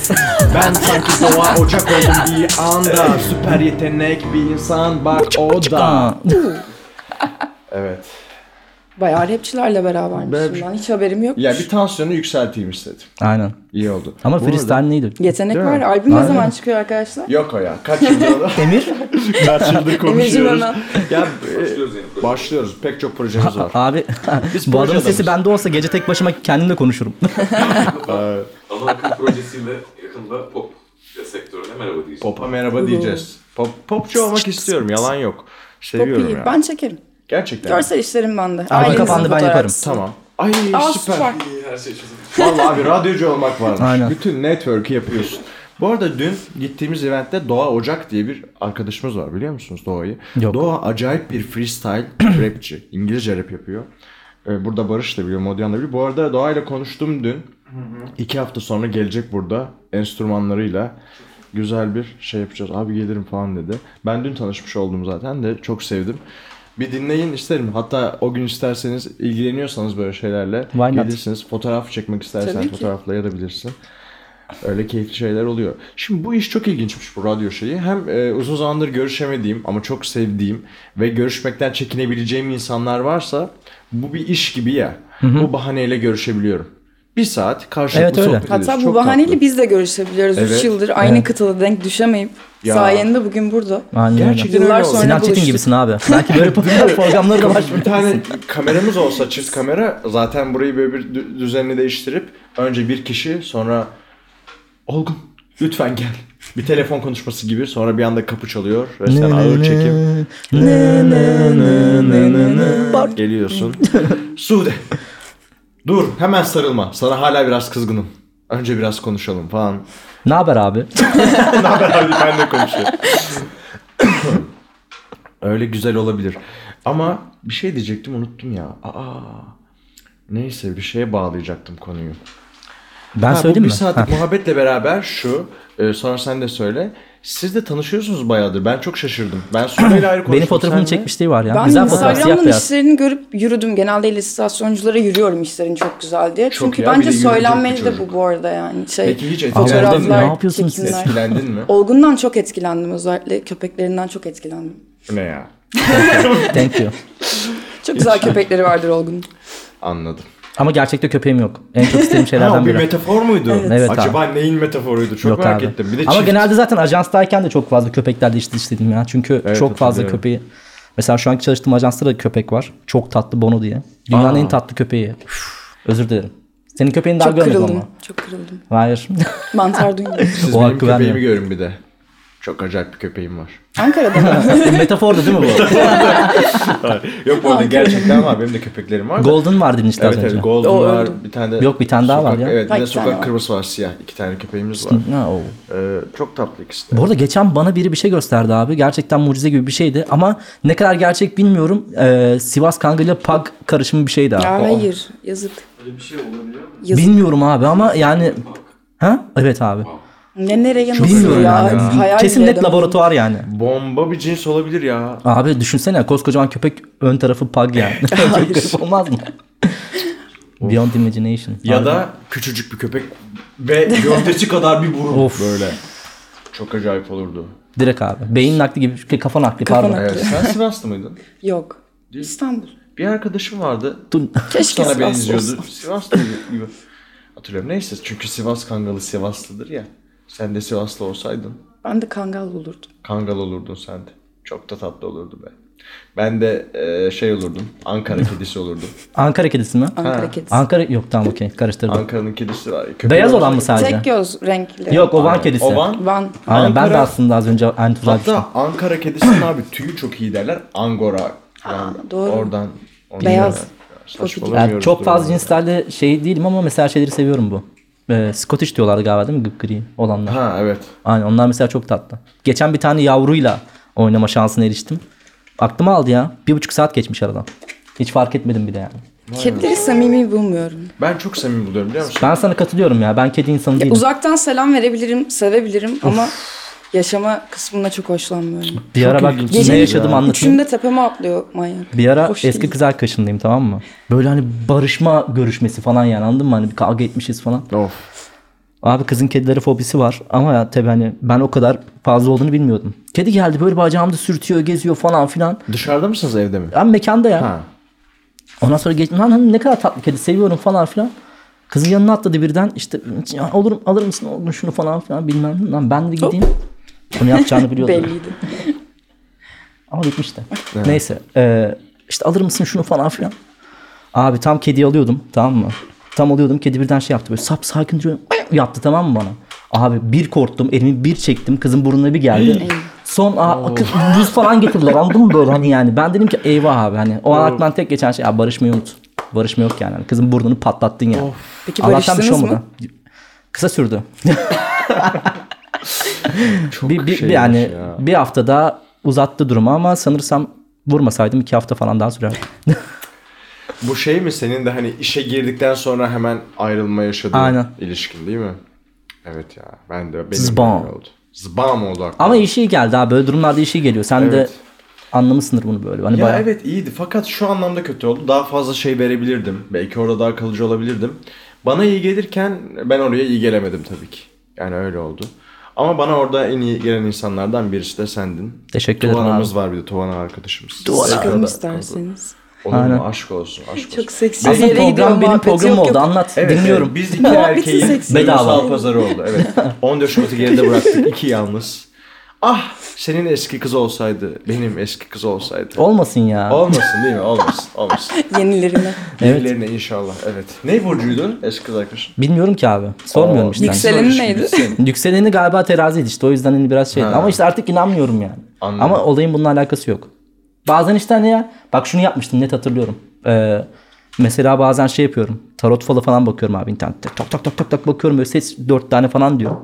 Speaker 6: Ben sanki doğa ocak oldum bir anda Süper yetenek bir insan bak o da
Speaker 3: Aa,
Speaker 4: Evet.
Speaker 5: Bayağı rapçilerle berabermişim ben. Hiç haberim yok.
Speaker 4: Ya bir tansiyonu yükselteyim istedim.
Speaker 3: Aynen
Speaker 4: İyi oldu.
Speaker 3: Ama
Speaker 4: Bu arada-
Speaker 3: freestyle neydi?
Speaker 5: Yetenek
Speaker 4: Değil
Speaker 5: var.
Speaker 4: mi?
Speaker 5: Albüm ne zaman çıkıyor arkadaşlar?
Speaker 4: Yok o ya. Kaç yıldır o?
Speaker 3: Emir?
Speaker 4: Kaç yıldır konuşuyoruz.
Speaker 5: hemen.
Speaker 4: ya, e, başlıyoruz. Pek çok projemiz var.
Speaker 3: Abi
Speaker 4: Biz
Speaker 3: bu adamın
Speaker 4: proje
Speaker 3: sesi bende olsa gece tek başıma kendimle konuşurum.
Speaker 8: Ama akım projesiyle yakında pop sektörüne merhaba diyeceğim.
Speaker 4: Pop'a merhaba diyeceğiz. Pop, popçu olmak istiyorum. Yalan yok.
Speaker 5: Çok
Speaker 4: Seviyorum
Speaker 5: iyi.
Speaker 4: ya.
Speaker 5: Ben çekerim.
Speaker 4: Gerçekten.
Speaker 5: Görsel işlerim bende.
Speaker 3: Abi
Speaker 5: Ailenizin
Speaker 3: kapandı ben yaparım.
Speaker 5: fotoğrafçısı.
Speaker 4: Tamam. Ay
Speaker 5: Aa
Speaker 4: süper.
Speaker 5: süper.
Speaker 8: Her şey çözüm.
Speaker 4: Vallahi abi radyocu olmak varmış.
Speaker 3: Aynen.
Speaker 4: Bütün network'ü yapıyorsun. Bu arada dün gittiğimiz eventte Doğa Ocak diye bir arkadaşımız var biliyor musunuz Doğa'yı?
Speaker 3: Yok.
Speaker 4: Doğa acayip bir freestyle rapçi. İngilizce rap yapıyor. Ee, Burada Barış da biliyor, Modyan da biliyor. Bu arada Doğa ile konuştum dün. İki hafta sonra gelecek burada enstrümanlarıyla. Güzel bir şey yapacağız. Abi gelirim falan dedi. Ben dün tanışmış oldum zaten de çok sevdim. Bir dinleyin isterim. Hatta o gün isterseniz ilgileniyorsanız böyle şeylerle
Speaker 3: Why not?
Speaker 4: gelirsiniz. Fotoğraf çekmek
Speaker 5: Tabii
Speaker 4: istersen
Speaker 5: ki.
Speaker 4: fotoğraflayabilirsin. Öyle keyifli şeyler oluyor. Şimdi bu iş çok ilginçmiş bu radyo şeyi. Hem e, uzun zamandır görüşemediğim ama çok sevdiğim ve görüşmekten çekinebileceğim insanlar varsa bu bir iş gibi ya. Bu bahaneyle görüşebiliyorum. Bir saat karşılıklı
Speaker 3: Evet, öyle.
Speaker 4: sohbet ediyoruz.
Speaker 5: Hatta bu
Speaker 4: Çok
Speaker 5: bahaneyle
Speaker 4: tatlı.
Speaker 5: biz de görüşebiliyoruz. 3
Speaker 4: Evet.
Speaker 5: yıldır aynı kıtada denk düşemeyip
Speaker 4: Ya.
Speaker 5: sayende bugün burada.
Speaker 3: Aynen öyle.
Speaker 4: Gerçekten
Speaker 5: Yıllar
Speaker 4: öyle oldu.
Speaker 5: sonra
Speaker 3: Sinan Çetin
Speaker 5: buluştuk.
Speaker 3: gibisin abi. Belki böyle programları da var.
Speaker 4: bir tane kameramız olsa çift kamera zaten burayı böyle bir dü- düzenli değiştirip önce bir kişi sonra Olgun lütfen gel. Bir telefon konuşması gibi sonra bir anda kapı çalıyor. Ve sen ağır çekim. Geliyorsun. Sude. Dur hemen sarılma. Sana hala biraz kızgınım. Önce biraz konuşalım falan.
Speaker 3: Ne haber abi?
Speaker 4: Abi ben de konuşuyorum. Öyle güzel olabilir. Ama bir şey diyecektim unuttum ya. Aa. Neyse bir şeye bağlayacaktım konuyu.
Speaker 3: Ben
Speaker 4: Ha, bu
Speaker 3: söyleyeyim mi?
Speaker 4: Bir
Speaker 3: Ha.
Speaker 4: saatlik muhabbetle beraber şu. e, sonra sen de söyle. Siz de tanışıyorsunuz bayağıdır. Ben çok şaşırdım. Ben Sude'yle ayrı konuştum.
Speaker 3: Benim fotoğrafımı
Speaker 4: senle.
Speaker 3: çekmişliği var ya.
Speaker 5: Ben
Speaker 3: Güzel fotoğraf siyah
Speaker 5: Instagram'dan
Speaker 3: beyaz.
Speaker 5: işlerini görüp yürüdüm. Genelde illüstrasyonculara yürüyorum işlerin çok güzel diye.
Speaker 4: Çok
Speaker 5: Çünkü
Speaker 4: ya, bir
Speaker 5: bence
Speaker 4: de yürüyecek bir
Speaker 5: söylenmeli de
Speaker 4: çocuk.
Speaker 5: bu bu arada yani. Şey,
Speaker 4: Peki hiç
Speaker 5: fotoğraflar,
Speaker 4: etkilendin mi?
Speaker 3: Ne yapıyorsun siz?
Speaker 5: çekimler.
Speaker 4: Etkilendin mi?
Speaker 5: Olgun'dan çok etkilendim özellikle köpeklerinden çok etkilendim.
Speaker 4: ne ya?
Speaker 3: Thank you.
Speaker 5: Çok güzel köpekleri vardır Olgun'un.
Speaker 4: Anladım.
Speaker 3: Ama gerçekte köpeğim yok. En çok istediğim
Speaker 4: Ha, o
Speaker 3: şeylerden
Speaker 4: bir
Speaker 3: biri.
Speaker 4: metafor muydu?
Speaker 3: Evet abi.
Speaker 4: Acaba neyin metaforuydu? Çok
Speaker 3: Yok
Speaker 4: merak
Speaker 3: abi.
Speaker 4: ettim. Bir de
Speaker 3: Ama
Speaker 4: çift-
Speaker 3: genelde zaten ajanstayken de çok fazla köpeklerle iç dışlıydım ya. Çünkü
Speaker 4: Evet,
Speaker 3: çok fazla
Speaker 4: hatırlıyorum.
Speaker 3: köpeği. Mesela şu anki çalıştığım ajansta da köpek var. Çok tatlı Bono diye. Dünyanın en tatlı köpeği. Üf, Özür dilerim. Senin köpeğini daha
Speaker 5: Çok
Speaker 3: görmedim
Speaker 5: kırıldım.
Speaker 3: ama.
Speaker 5: Çok kırıldım.
Speaker 3: Hayır.
Speaker 5: Mantar duyuyorum.
Speaker 4: Siz
Speaker 3: O
Speaker 4: benim
Speaker 3: hakkı
Speaker 4: köpeğimi
Speaker 3: vermiyor.
Speaker 4: görün bir de. Çok acayip bir köpeğim var.
Speaker 5: Ankara'da mı?
Speaker 3: Metafordu değil mi bu?
Speaker 4: Yok bu arada gerçekten var. Benim de köpeklerim var. da.
Speaker 3: Golden var dedin işte az
Speaker 4: Evet
Speaker 3: önce.
Speaker 4: evet Golden
Speaker 5: O
Speaker 4: var.
Speaker 5: öldü.
Speaker 4: Bir tane de
Speaker 3: Yok, bir tane daha var ya.
Speaker 4: Evet
Speaker 5: Ha,
Speaker 4: bir de
Speaker 5: iki tane
Speaker 4: sokak
Speaker 5: var.
Speaker 4: kırması var siyah. İki tane köpeğimiz var.
Speaker 3: Ha, o.
Speaker 4: Ee, çok tatlı ikisi de.
Speaker 3: Bu arada geçen bana biri bir şey gösterdi abi. Gerçekten mucize gibi bir şeydi. Ama ne kadar gerçek bilmiyorum. Ee, Sivas Kangı ile Pag karışımı bir şeydi abi.
Speaker 5: Ya hayır. Yazık.
Speaker 8: Öyle bir şey olabiliyor mu?
Speaker 5: Yazık.
Speaker 3: Bilmiyorum abi ama yani... Ha? Evet abi.
Speaker 5: Ne nereye nasıl
Speaker 3: Bilmiyorum
Speaker 5: ya?
Speaker 3: yani.
Speaker 5: Hayal
Speaker 3: Kesin
Speaker 5: bile
Speaker 3: net
Speaker 5: edemem.
Speaker 3: laboratuvar yani.
Speaker 4: Bomba bir cins olabilir ya.
Speaker 3: Abi düşünsene koskocaman köpek ön tarafı pug yani. Çok garip olmaz mı? Beyond imagination.
Speaker 4: Ya
Speaker 3: Abi.
Speaker 4: da küçücük bir köpek ve gövdesi kadar bir burun.
Speaker 3: Of.
Speaker 4: Böyle. Çok acayip olurdu.
Speaker 3: Direkt abi. Beyin nakli gibi. Şey, kafa nakli
Speaker 5: Kafa
Speaker 3: pardon.
Speaker 5: nakli.
Speaker 4: Evet. Sen Sivaslı mıydın?
Speaker 5: Yok. İstanbul.
Speaker 4: Bir arkadaşım vardı.
Speaker 3: Dur.
Speaker 5: Keşke
Speaker 4: Sana
Speaker 5: Sivas
Speaker 4: benziyordu.
Speaker 5: olsa.
Speaker 4: Sivaslı gibi. Hatırlıyorum. Neyse çünkü Sivas Kangalı Sivaslıdır ya. Sen de Sivaslı olsaydın
Speaker 5: Ben de Kangal olurdum.
Speaker 4: Kangal olurdun sen de. Çok da tatlı olurdu be. Ben de e, şey olurdum. Ankara kedisi olurdum.
Speaker 3: Ankara kedisi mi?
Speaker 5: Ankara kedisi.
Speaker 3: Ankara yok tamam okey karıştırdım.
Speaker 4: Ankara'nın kedisi var. Köpeği
Speaker 3: Beyaz
Speaker 4: var.
Speaker 3: olan mı sadece?
Speaker 5: Tek göz renkli.
Speaker 3: Yok o Van kedisi.
Speaker 4: O Van.
Speaker 5: Van.
Speaker 3: Aynen ben de
Speaker 4: Ankara-
Speaker 3: aslında az önce aynı tuzağa düştüm.
Speaker 4: Hatta Ankara kedisinin abi tüyü çok iyi derler. Angora. Yani
Speaker 5: doğru.
Speaker 4: Oradan. oradan
Speaker 5: Beyaz.
Speaker 4: yani
Speaker 3: Yani
Speaker 4: saçmalamıyoruz
Speaker 3: çok fazla
Speaker 4: durumunu.
Speaker 3: cinslerle şey değilim ama mesela şeyleri seviyorum bu. Ee, Scottish diyorlardı galiba değil mi? Gıp Gri olanlar.
Speaker 4: Ha evet.
Speaker 3: Aynen onlar mesela çok tatlı. Geçen bir tane yavruyla oynama şansına eriştim. Aklıma aldı ya. Bir buçuk saat geçmiş aradan. Hiç fark etmedim bile yani.
Speaker 5: Kedileri samimi bulmuyorum. E,
Speaker 4: Ben çok samimi buluyorum biliyor musun?
Speaker 3: Ben sana katılıyorum ya. Ben kedi insanı değilim.
Speaker 5: Uzaktan selam verebilirim, sevebilirim ama yaşama kısmına çok hoşlanmıyorum.
Speaker 3: bir ara bak
Speaker 5: ilginç
Speaker 3: ne
Speaker 5: ya.
Speaker 3: yaşadım anlatayım.
Speaker 5: Üçünü de tepeme atlıyor manyak.
Speaker 3: Bir ara
Speaker 5: Hoş
Speaker 3: eski
Speaker 5: değil.
Speaker 3: kız arkadaşımdayım tamam mı? Böyle hani barışma görüşmesi falan yani anladın mı? Hani bir kavga etmişiz falan.
Speaker 4: Of.
Speaker 3: Abi kızın kedileri fobisi var ama ya tabii hani ben o kadar fazla olduğunu bilmiyordum. Kedi geldi böyle bacağımda sürtüyor, geziyor falan filan.
Speaker 4: Dışarıda mısınız evde mi?
Speaker 3: Ben mekanda ya.
Speaker 4: Ha.
Speaker 3: Ondan sonra geçtim lan hani ne kadar tatlı kedi seviyorum falan filan. Kızın yanına atladı birden işte "Ya olurum alır mısın oğlum şunu falan filan bilmem ne. lan ben de gideyim. Bunu yapacağını biliyordum.
Speaker 5: Belliydi.
Speaker 3: Ama bitmişti. Neyse. eee, işte alır mısın şunu falan filan. Abi tam kedi alıyordum tamam mı? Tam alıyordum kedi birden şey yaptı böyle sap sakin duruyor yaptı tamam mı bana? Abi bir korktum elimi bir çektim kızın burnuna bir geldi. Son a, kız, buz falan getirdiler anladın mı böyle hani yani. Ben dedim ki eyvah abi hani o an aklımdan tek geçen şey abi barışmayı unut. Barışma yok yani. Hani kızın burnunu patlattın ya.
Speaker 5: Peki
Speaker 3: Allah'tan bir şey
Speaker 5: barıştınız mı?
Speaker 3: olmadı. Kısa sürdü.
Speaker 4: Çok
Speaker 3: bir, bir,
Speaker 4: şey
Speaker 3: yani
Speaker 4: ya.
Speaker 3: bir hafta daha uzattı durumu ama sanırsam vurmasaydım iki hafta falan daha sürerdi.
Speaker 4: Bu şey mi senin de hani işe girdikten sonra hemen ayrılma yaşadığın
Speaker 3: Aynen.
Speaker 4: ilişkin değil mi? Evet ya. Ben de benim de
Speaker 3: Zbam.
Speaker 4: öyle oldu. Zbam oldu aklıma.
Speaker 3: Ama işi geldi abi. Böyle durumlarda işi geliyor. Sen de
Speaker 4: Evet.
Speaker 3: anlamışsındır bunu böyle. Hani
Speaker 4: Ya
Speaker 3: bayağı-
Speaker 4: evet iyiydi fakat şu anlamda kötü oldu. Daha fazla şey verebilirdim. Belki orada daha kalıcı olabilirdim. Bana iyi gelirken ben oraya iyi gelemedim tabii ki. Yani öyle oldu. Ama bana orada en iyi gelen insanlardan birisi de sendin.
Speaker 3: Teşekkür ederim
Speaker 4: Tuvana'mız var bir de Tuvana arkadaşımız. Tekrardan-
Speaker 5: Çıkalım isterseniz.
Speaker 4: Olur
Speaker 3: Aynen.
Speaker 4: mu? Aşk olsun. Aşk olsun.
Speaker 5: Çok seksi bir
Speaker 3: Aslında
Speaker 5: yere gidiyor
Speaker 3: program benim
Speaker 5: muhabbet.
Speaker 3: programım
Speaker 5: Yok,
Speaker 3: oldu.
Speaker 5: yok.
Speaker 3: Anlat.
Speaker 4: Evet,
Speaker 3: Dinliyorum.
Speaker 4: evet. Biz iki
Speaker 5: Muhabbetin
Speaker 4: erkeğin
Speaker 5: seksi.
Speaker 4: bedava
Speaker 3: Bedava.
Speaker 4: pazarı oldu. Evet. 14 Şubat'ı geride bıraktık. iki yalnız. Ah senin eski kız olsaydı, benim eski kız olsaydı.
Speaker 3: Olmasın ya.
Speaker 4: Olmasın değil mi? Olmasın. Olmasın.
Speaker 5: Yenilerine.
Speaker 3: Evet.
Speaker 4: Birilerine inşallah. Evet. Ne burcuydun eski kız arkadaşın?
Speaker 3: Bilmiyorum ki abi. Sormuyorum
Speaker 4: Oo,
Speaker 3: işte.
Speaker 4: ikisi
Speaker 7: Yükselenin
Speaker 4: olmuş,
Speaker 7: neydi?
Speaker 4: yükselenin.
Speaker 3: Yükseleni galiba teraziydi işte o yüzden hani biraz şey. Ama işte artık inanmıyorum yani.
Speaker 4: Anladım.
Speaker 3: Ama olayın bununla alakası yok. Bazen işte hani ya bak şunu yapmıştım net hatırlıyorum. Ee, mesela bazen şey yapıyorum. Tarot falı falan bakıyorum abi internette. Tak tak tak tak tak bakıyorum böyle seç dört tane falan diyor.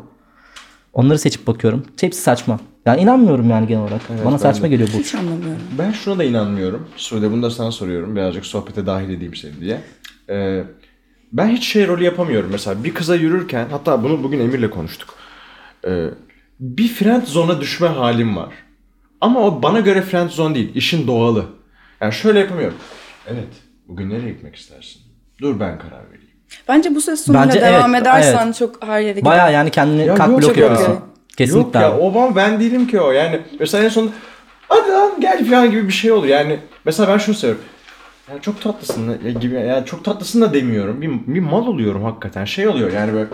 Speaker 3: Onları seçip bakıyorum. Hepsi saçma. Yani inanmıyorum yani genel olarak. Bana saçma geliyor bu.
Speaker 5: Hiç anlamıyorum.
Speaker 4: Ben şuna da inanmıyorum. Sude bunu da sana soruyorum. Birazcık sohbete dahil edeyim seni diye. Ee, ben hiç şey rolü yapamıyorum. Mesela bir kıza yürürken hatta bunu bugün Emir'le konuştuk. Ee, bir friend zone'a düşme halim var. Ama o bana göre friend zone değil. İşin doğalı. Yani şöyle yapamıyorum. Evet. Bugün nereye gitmek istersin? Dur ben karar vereyim.
Speaker 5: Bence bu ses sonuyla
Speaker 3: Bence
Speaker 5: devam
Speaker 3: evet,
Speaker 5: edersen
Speaker 3: evet.
Speaker 5: çok her yere gider.
Speaker 3: Baya yani kendini
Speaker 4: Ya
Speaker 3: kalk
Speaker 4: yok
Speaker 3: blok
Speaker 4: ya.
Speaker 3: yapıyorsun. Kesinlikle
Speaker 4: Yok ya
Speaker 3: abi.
Speaker 4: o ben, ben değilim ki o. Yani mesela en son hadi lan gel falan gibi bir şey oluyor. Yani mesela ben şunu seviyorum. Ya çok tatlısın da- ya gibi ya çok tatlısın da demiyorum. Bir, bir mal oluyorum hakikaten. Şey oluyor yani böyle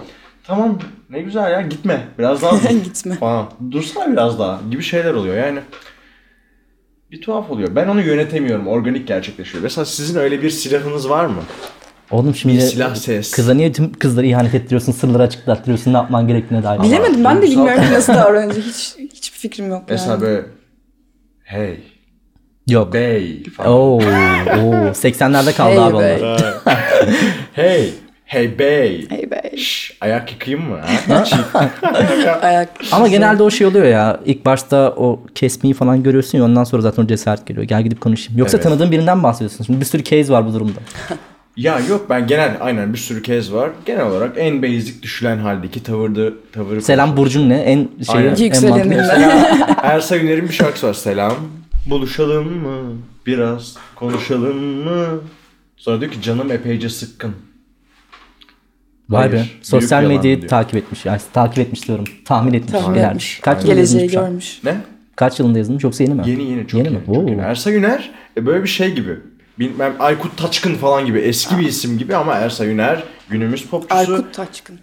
Speaker 4: tamam ne güzel ya gitme. Biraz daha dur
Speaker 7: Gitme.
Speaker 4: falan. Dursana biraz daha gibi şeyler oluyor yani. Bir tuhaf oluyor. Ben onu yönetemiyorum. Organik gerçekleşiyor. Mesela sizin öyle bir silahınız var mı?
Speaker 3: Oğlum şimdi
Speaker 4: Bir silah ses.
Speaker 3: kıza niye tüm kızları ihanet ettiriyorsun, sırları açıklattırıyorsun, ne yapman gerektiğine dair.
Speaker 7: Bilemedim ben de
Speaker 4: duygusal-
Speaker 7: bilmiyorum ki nasıl davranacak. Hiç, hiçbir fikrim yok yani.
Speaker 4: Mesela böyle hey,
Speaker 3: Yok.
Speaker 4: bey falan.
Speaker 3: Oo, oo. 80'lerde kaldı
Speaker 7: Hey
Speaker 3: abi
Speaker 7: be.
Speaker 3: onlar.
Speaker 4: Hey, hey bey.
Speaker 7: Hey bey.
Speaker 4: Şş, ayak yıkayayım mı? Ha?
Speaker 7: Ayak.
Speaker 3: Ama genelde o şey oluyor ya. İlk başta o kesmeyi falan görüyorsun ya ondan sonra zaten o cesaret geliyor. Gel gidip konuşayım. Yoksa
Speaker 4: Evet.
Speaker 3: tanıdığın birinden mi bahsediyorsun. Şimdi bir sürü case var bu durumda.
Speaker 4: ya yok ben genel aynen bir sürü kez var. Genel olarak en basic düşülen haldeki tavırdı tavırı.
Speaker 3: Selam Burcu'nun ne? En şey
Speaker 4: Aynen.
Speaker 3: en mantıklı.
Speaker 4: Mesela Ersa Güner'in bir şarkısı var. Selam. Buluşalım mı? Biraz konuşalım mı? Sonra diyor ki canım epeyce sıkkın.
Speaker 3: Vay be.
Speaker 4: Hayır, büyük
Speaker 3: Sosyal
Speaker 4: yalan
Speaker 3: medyayı
Speaker 4: diyor.
Speaker 3: takip etmiş. Yani takip etmiş diyorum. Tahmin etmiş.
Speaker 7: Tahmin
Speaker 3: bilermiş.
Speaker 7: etmiş.
Speaker 3: Kaç yılında
Speaker 7: Geleceği
Speaker 3: yazılmış bu şarkı?
Speaker 7: görmüş.
Speaker 4: Ne?
Speaker 3: Kaç yılında yazılmış yoksa yeni mi?
Speaker 4: Yeni yeni çok yeni.
Speaker 3: mi?
Speaker 4: çok
Speaker 3: Oo.
Speaker 4: yeni. Ersa Güner e, böyle bir şey gibi. Bilmem Aykut Taçkın falan gibi eski bir isim gibi ama Ersa Güner günümüz popçusu.
Speaker 5: Erkut Taçkın.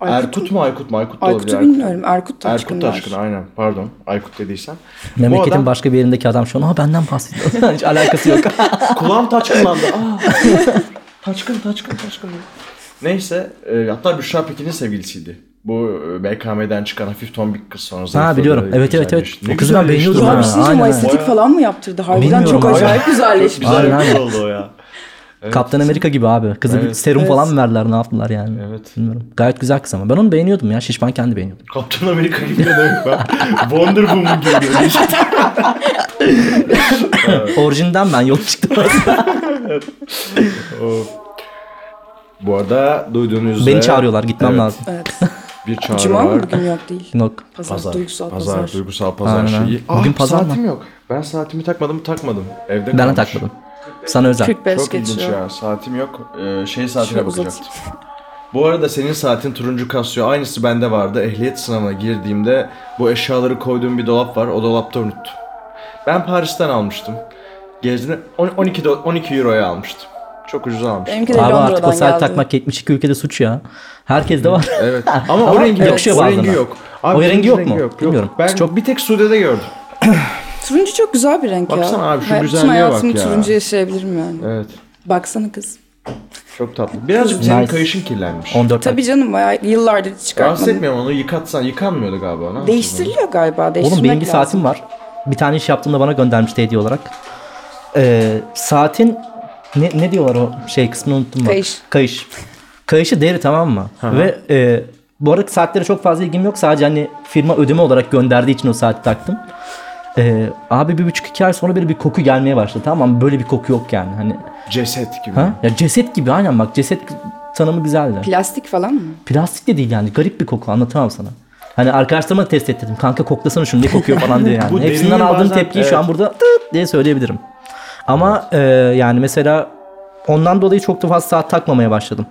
Speaker 4: Erkut mu Aykut mu Aykut da olabilir.
Speaker 5: Aykut'u bilmiyorum. Erkut Taçkın.
Speaker 4: Erkut Taşkın aynen pardon Aykut dediysem. Bu
Speaker 3: Memleketin
Speaker 4: adam
Speaker 3: başka bir yerindeki adam şu an Aa, benden bahsediyor. Hiç alakası yok.
Speaker 4: kulağım taçkınlandı. Aa, taçkın taçkın taçkın. Neyse e, hatta Büşra Pekin'in sevgilisiydi. Bu e, BKM'den çıkan hafif tombik kız sonra zayıfladı,
Speaker 3: biliyorum. Evet, evet, evet.
Speaker 4: güzelleşti. Ne
Speaker 3: O kızı ben
Speaker 4: güzelleşti
Speaker 3: beğeniyordum ha.
Speaker 4: lan.
Speaker 5: Ya bir şey diyeceğim o
Speaker 3: Aynen.
Speaker 5: estetik
Speaker 4: Bayağı-
Speaker 5: falan mı yaptırdı? Harbiden
Speaker 3: Bilmiyorum
Speaker 5: çok
Speaker 3: abi.
Speaker 5: acayip
Speaker 4: Çok
Speaker 5: güzelleşmiş.
Speaker 4: güzel bir
Speaker 3: Aynen.
Speaker 4: kız oldu o ya.
Speaker 3: Kaptan Amerika gibi abi. Kızı bir
Speaker 4: Evet.
Speaker 3: serum falan mı verdiler ne yaptılar yani.
Speaker 4: Evet.
Speaker 3: Bilmiyorum. Gayet güzel kız ama. Ben onu beğeniyordum ya. Şişman kendi beğeniyordum.
Speaker 4: Kaptan Amerika gibi ne demek ben? Wonder Woman gibi. görünüyor.
Speaker 3: Orijinden ben yol çıktım.
Speaker 4: Bu arada duyduğunuz üzere...
Speaker 3: Beni çağırıyorlar. Gitmem
Speaker 4: Evet,
Speaker 3: lazım.
Speaker 5: Evet.
Speaker 4: Bir çağrı
Speaker 5: Cuma
Speaker 4: var.
Speaker 5: mı bugün yok değil.
Speaker 3: Yok.
Speaker 5: Pazar,
Speaker 4: Pazar,
Speaker 5: duygusal
Speaker 4: pazar,
Speaker 5: pazar.
Speaker 4: duygusal pazar
Speaker 3: Aynen.
Speaker 4: şeyi.
Speaker 3: Bugün pazar mı?
Speaker 4: saatim yok. Ben saatimi takmadım, takmadım. Evde
Speaker 3: Ben de
Speaker 4: kalmış.
Speaker 3: takmadım. Sana özel.
Speaker 5: 45
Speaker 4: Çok ilginç
Speaker 5: geçiyor.
Speaker 4: ya. Saatim yok. Ee, şey saatine
Speaker 5: Şöyle uzatayım.
Speaker 4: bakacaktım. Bu arada senin saatin turuncu kasıyor. Aynısı bende vardı. Ehliyet sınavına girdiğimde bu eşyaları koyduğum bir dolap var. O dolapta unuttum. Ben Paris'ten almıştım. Gezdiğimde on- 12 do- 12 euroya almıştım. Çok ucuza almıştım.
Speaker 7: Benimki de
Speaker 3: Abi
Speaker 7: Londra'dan
Speaker 3: artık o saat
Speaker 7: geldi.
Speaker 3: takmak 72 ülkede suç ya. Herkes de var.
Speaker 4: Evet. Ama, o
Speaker 3: Ama
Speaker 4: rengi yok.
Speaker 3: yakışıyor
Speaker 4: O
Speaker 3: bazılarına.
Speaker 4: rengi yok.
Speaker 3: O
Speaker 4: bunun
Speaker 3: rengi yok mu? Bilmiyorum.
Speaker 4: Ben
Speaker 3: Çok-
Speaker 4: çok bir tek Sude'de gördüm.
Speaker 5: Turuncu çok güzel bir renk ya.
Speaker 4: Baksana abi, şu
Speaker 5: Hayatım,
Speaker 4: güzelliğe bak
Speaker 5: hayatımı
Speaker 4: ya.
Speaker 5: turuncu yaşayabilirim yani.
Speaker 4: Evet.
Speaker 5: Baksana kız.
Speaker 4: Çok tatlı. Birazcık senin
Speaker 3: Nice.
Speaker 4: kayışın kirlenmiş.
Speaker 3: 14 ay.
Speaker 5: Tabii canım bayağı yıllardır hiç
Speaker 4: Rahatsız
Speaker 5: çıkartmadım.
Speaker 4: etmiyorum onu yıkatsan. Yıkanmıyordu galiba. Ne yaptın
Speaker 5: Değiştiriliyor galiba. Değiştirmek
Speaker 3: Oğlum benim bir
Speaker 5: lazım.
Speaker 3: saatim var. Bir tane iş yaptığımda bana göndermişti hediye olarak. Ee, saatin ne, ne diyorlar o şey kısmını unuttum bak.
Speaker 5: Kayış.
Speaker 3: Kayış. Kayışı deri tamam mı? Ve e, bu arada saatlere çok fazla ilgim yok. Sadece hani firma ödeme olarak gönderdiği için o saati taktım. Ee, abi bir buçuk iki ay sonra böyle bir koku gelmeye başladı tamam mı? Böyle bir koku yok yani hani.
Speaker 4: bunu? Ceset gibi.
Speaker 3: Ha? Ya ceset gibi aynen bak ceset tanımı güzeldi.
Speaker 5: Plastik falan mı?
Speaker 3: Plastik de değil yani garip bir koku anlatamam sana. Hani arkadaşlarıma test ettirdim. Kanka koklasana şunu ne kokuyor falan diye yani.
Speaker 4: Bu
Speaker 3: Hepsinden
Speaker 4: derinin
Speaker 3: aldığım
Speaker 4: bazen-
Speaker 3: tepkiyi şu an burada tıt diye söyleyebilirim. Ama e, yani mesela ondan dolayı çok da fazla saat takmamaya başladım.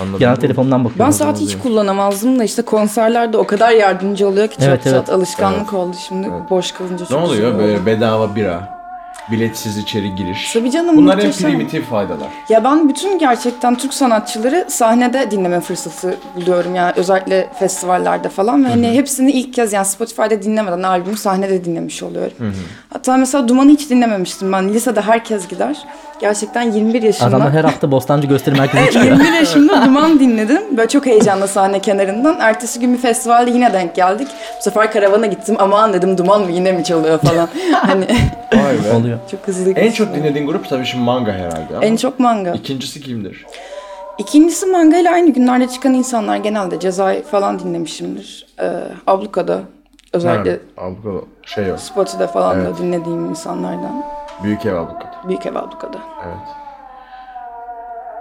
Speaker 4: Anladım.
Speaker 3: Genel telefondan bakıyorum.
Speaker 5: Ben saat hiç kullanamazdım da işte konserlerde o kadar yardımcı oluyor ki çok
Speaker 3: Evet,
Speaker 5: saat
Speaker 3: evet.
Speaker 5: alışkanlık oldu şimdi boş kalınca
Speaker 4: Ne
Speaker 5: çok üzülüyorum.
Speaker 4: oluyor böyle bedava bira? biletsiz içeri giriş.
Speaker 5: Tabii canım,
Speaker 4: Bunlar en
Speaker 5: muhteşem.
Speaker 4: primitif faydalar.
Speaker 5: Ya ben bütün gerçekten Türk sanatçıları sahnede dinleme fırsatı buluyorum yani özellikle festivallerde falan ve hani hepsini ilk kez yani Spotify'da dinlemeden albümü sahnede dinlemiş oluyorum. Hatta mesela Duman'ı hiç dinlememiştim ben. Lisede herkes gider. Gerçekten 21 yaşında.
Speaker 3: Adamlar her hafta Bostancı Gösteri Merkezi'ne çıkıyor.
Speaker 5: 21 yaşımda Duman dinledim. Böyle çok heyecanla sahne kenarından. Ertesi gün bir festivalde yine denk geldik. Bu sefer karavana gittim. Aman dedim Duman mı yine mi çalıyor falan. hani
Speaker 4: Vay be.
Speaker 3: oluyor.
Speaker 5: çok hızlı.
Speaker 4: En çok dinlediğin grup tabii şimdi manga herhalde. Ama
Speaker 5: en çok manga.
Speaker 4: İkincisi kimdir?
Speaker 5: İkincisi manga ile aynı günlerde çıkan insanlar genelde cezayı falan dinlemişimdir. Ee, Abluka'da özellikle
Speaker 4: Nerede? Avukado. Şey yok.
Speaker 5: Spotify'da falan
Speaker 4: Evet.
Speaker 5: da dinlediğim insanlardan.
Speaker 4: Büyük ev avukado.
Speaker 5: Büyük Ev Abluka'da.
Speaker 4: Evet.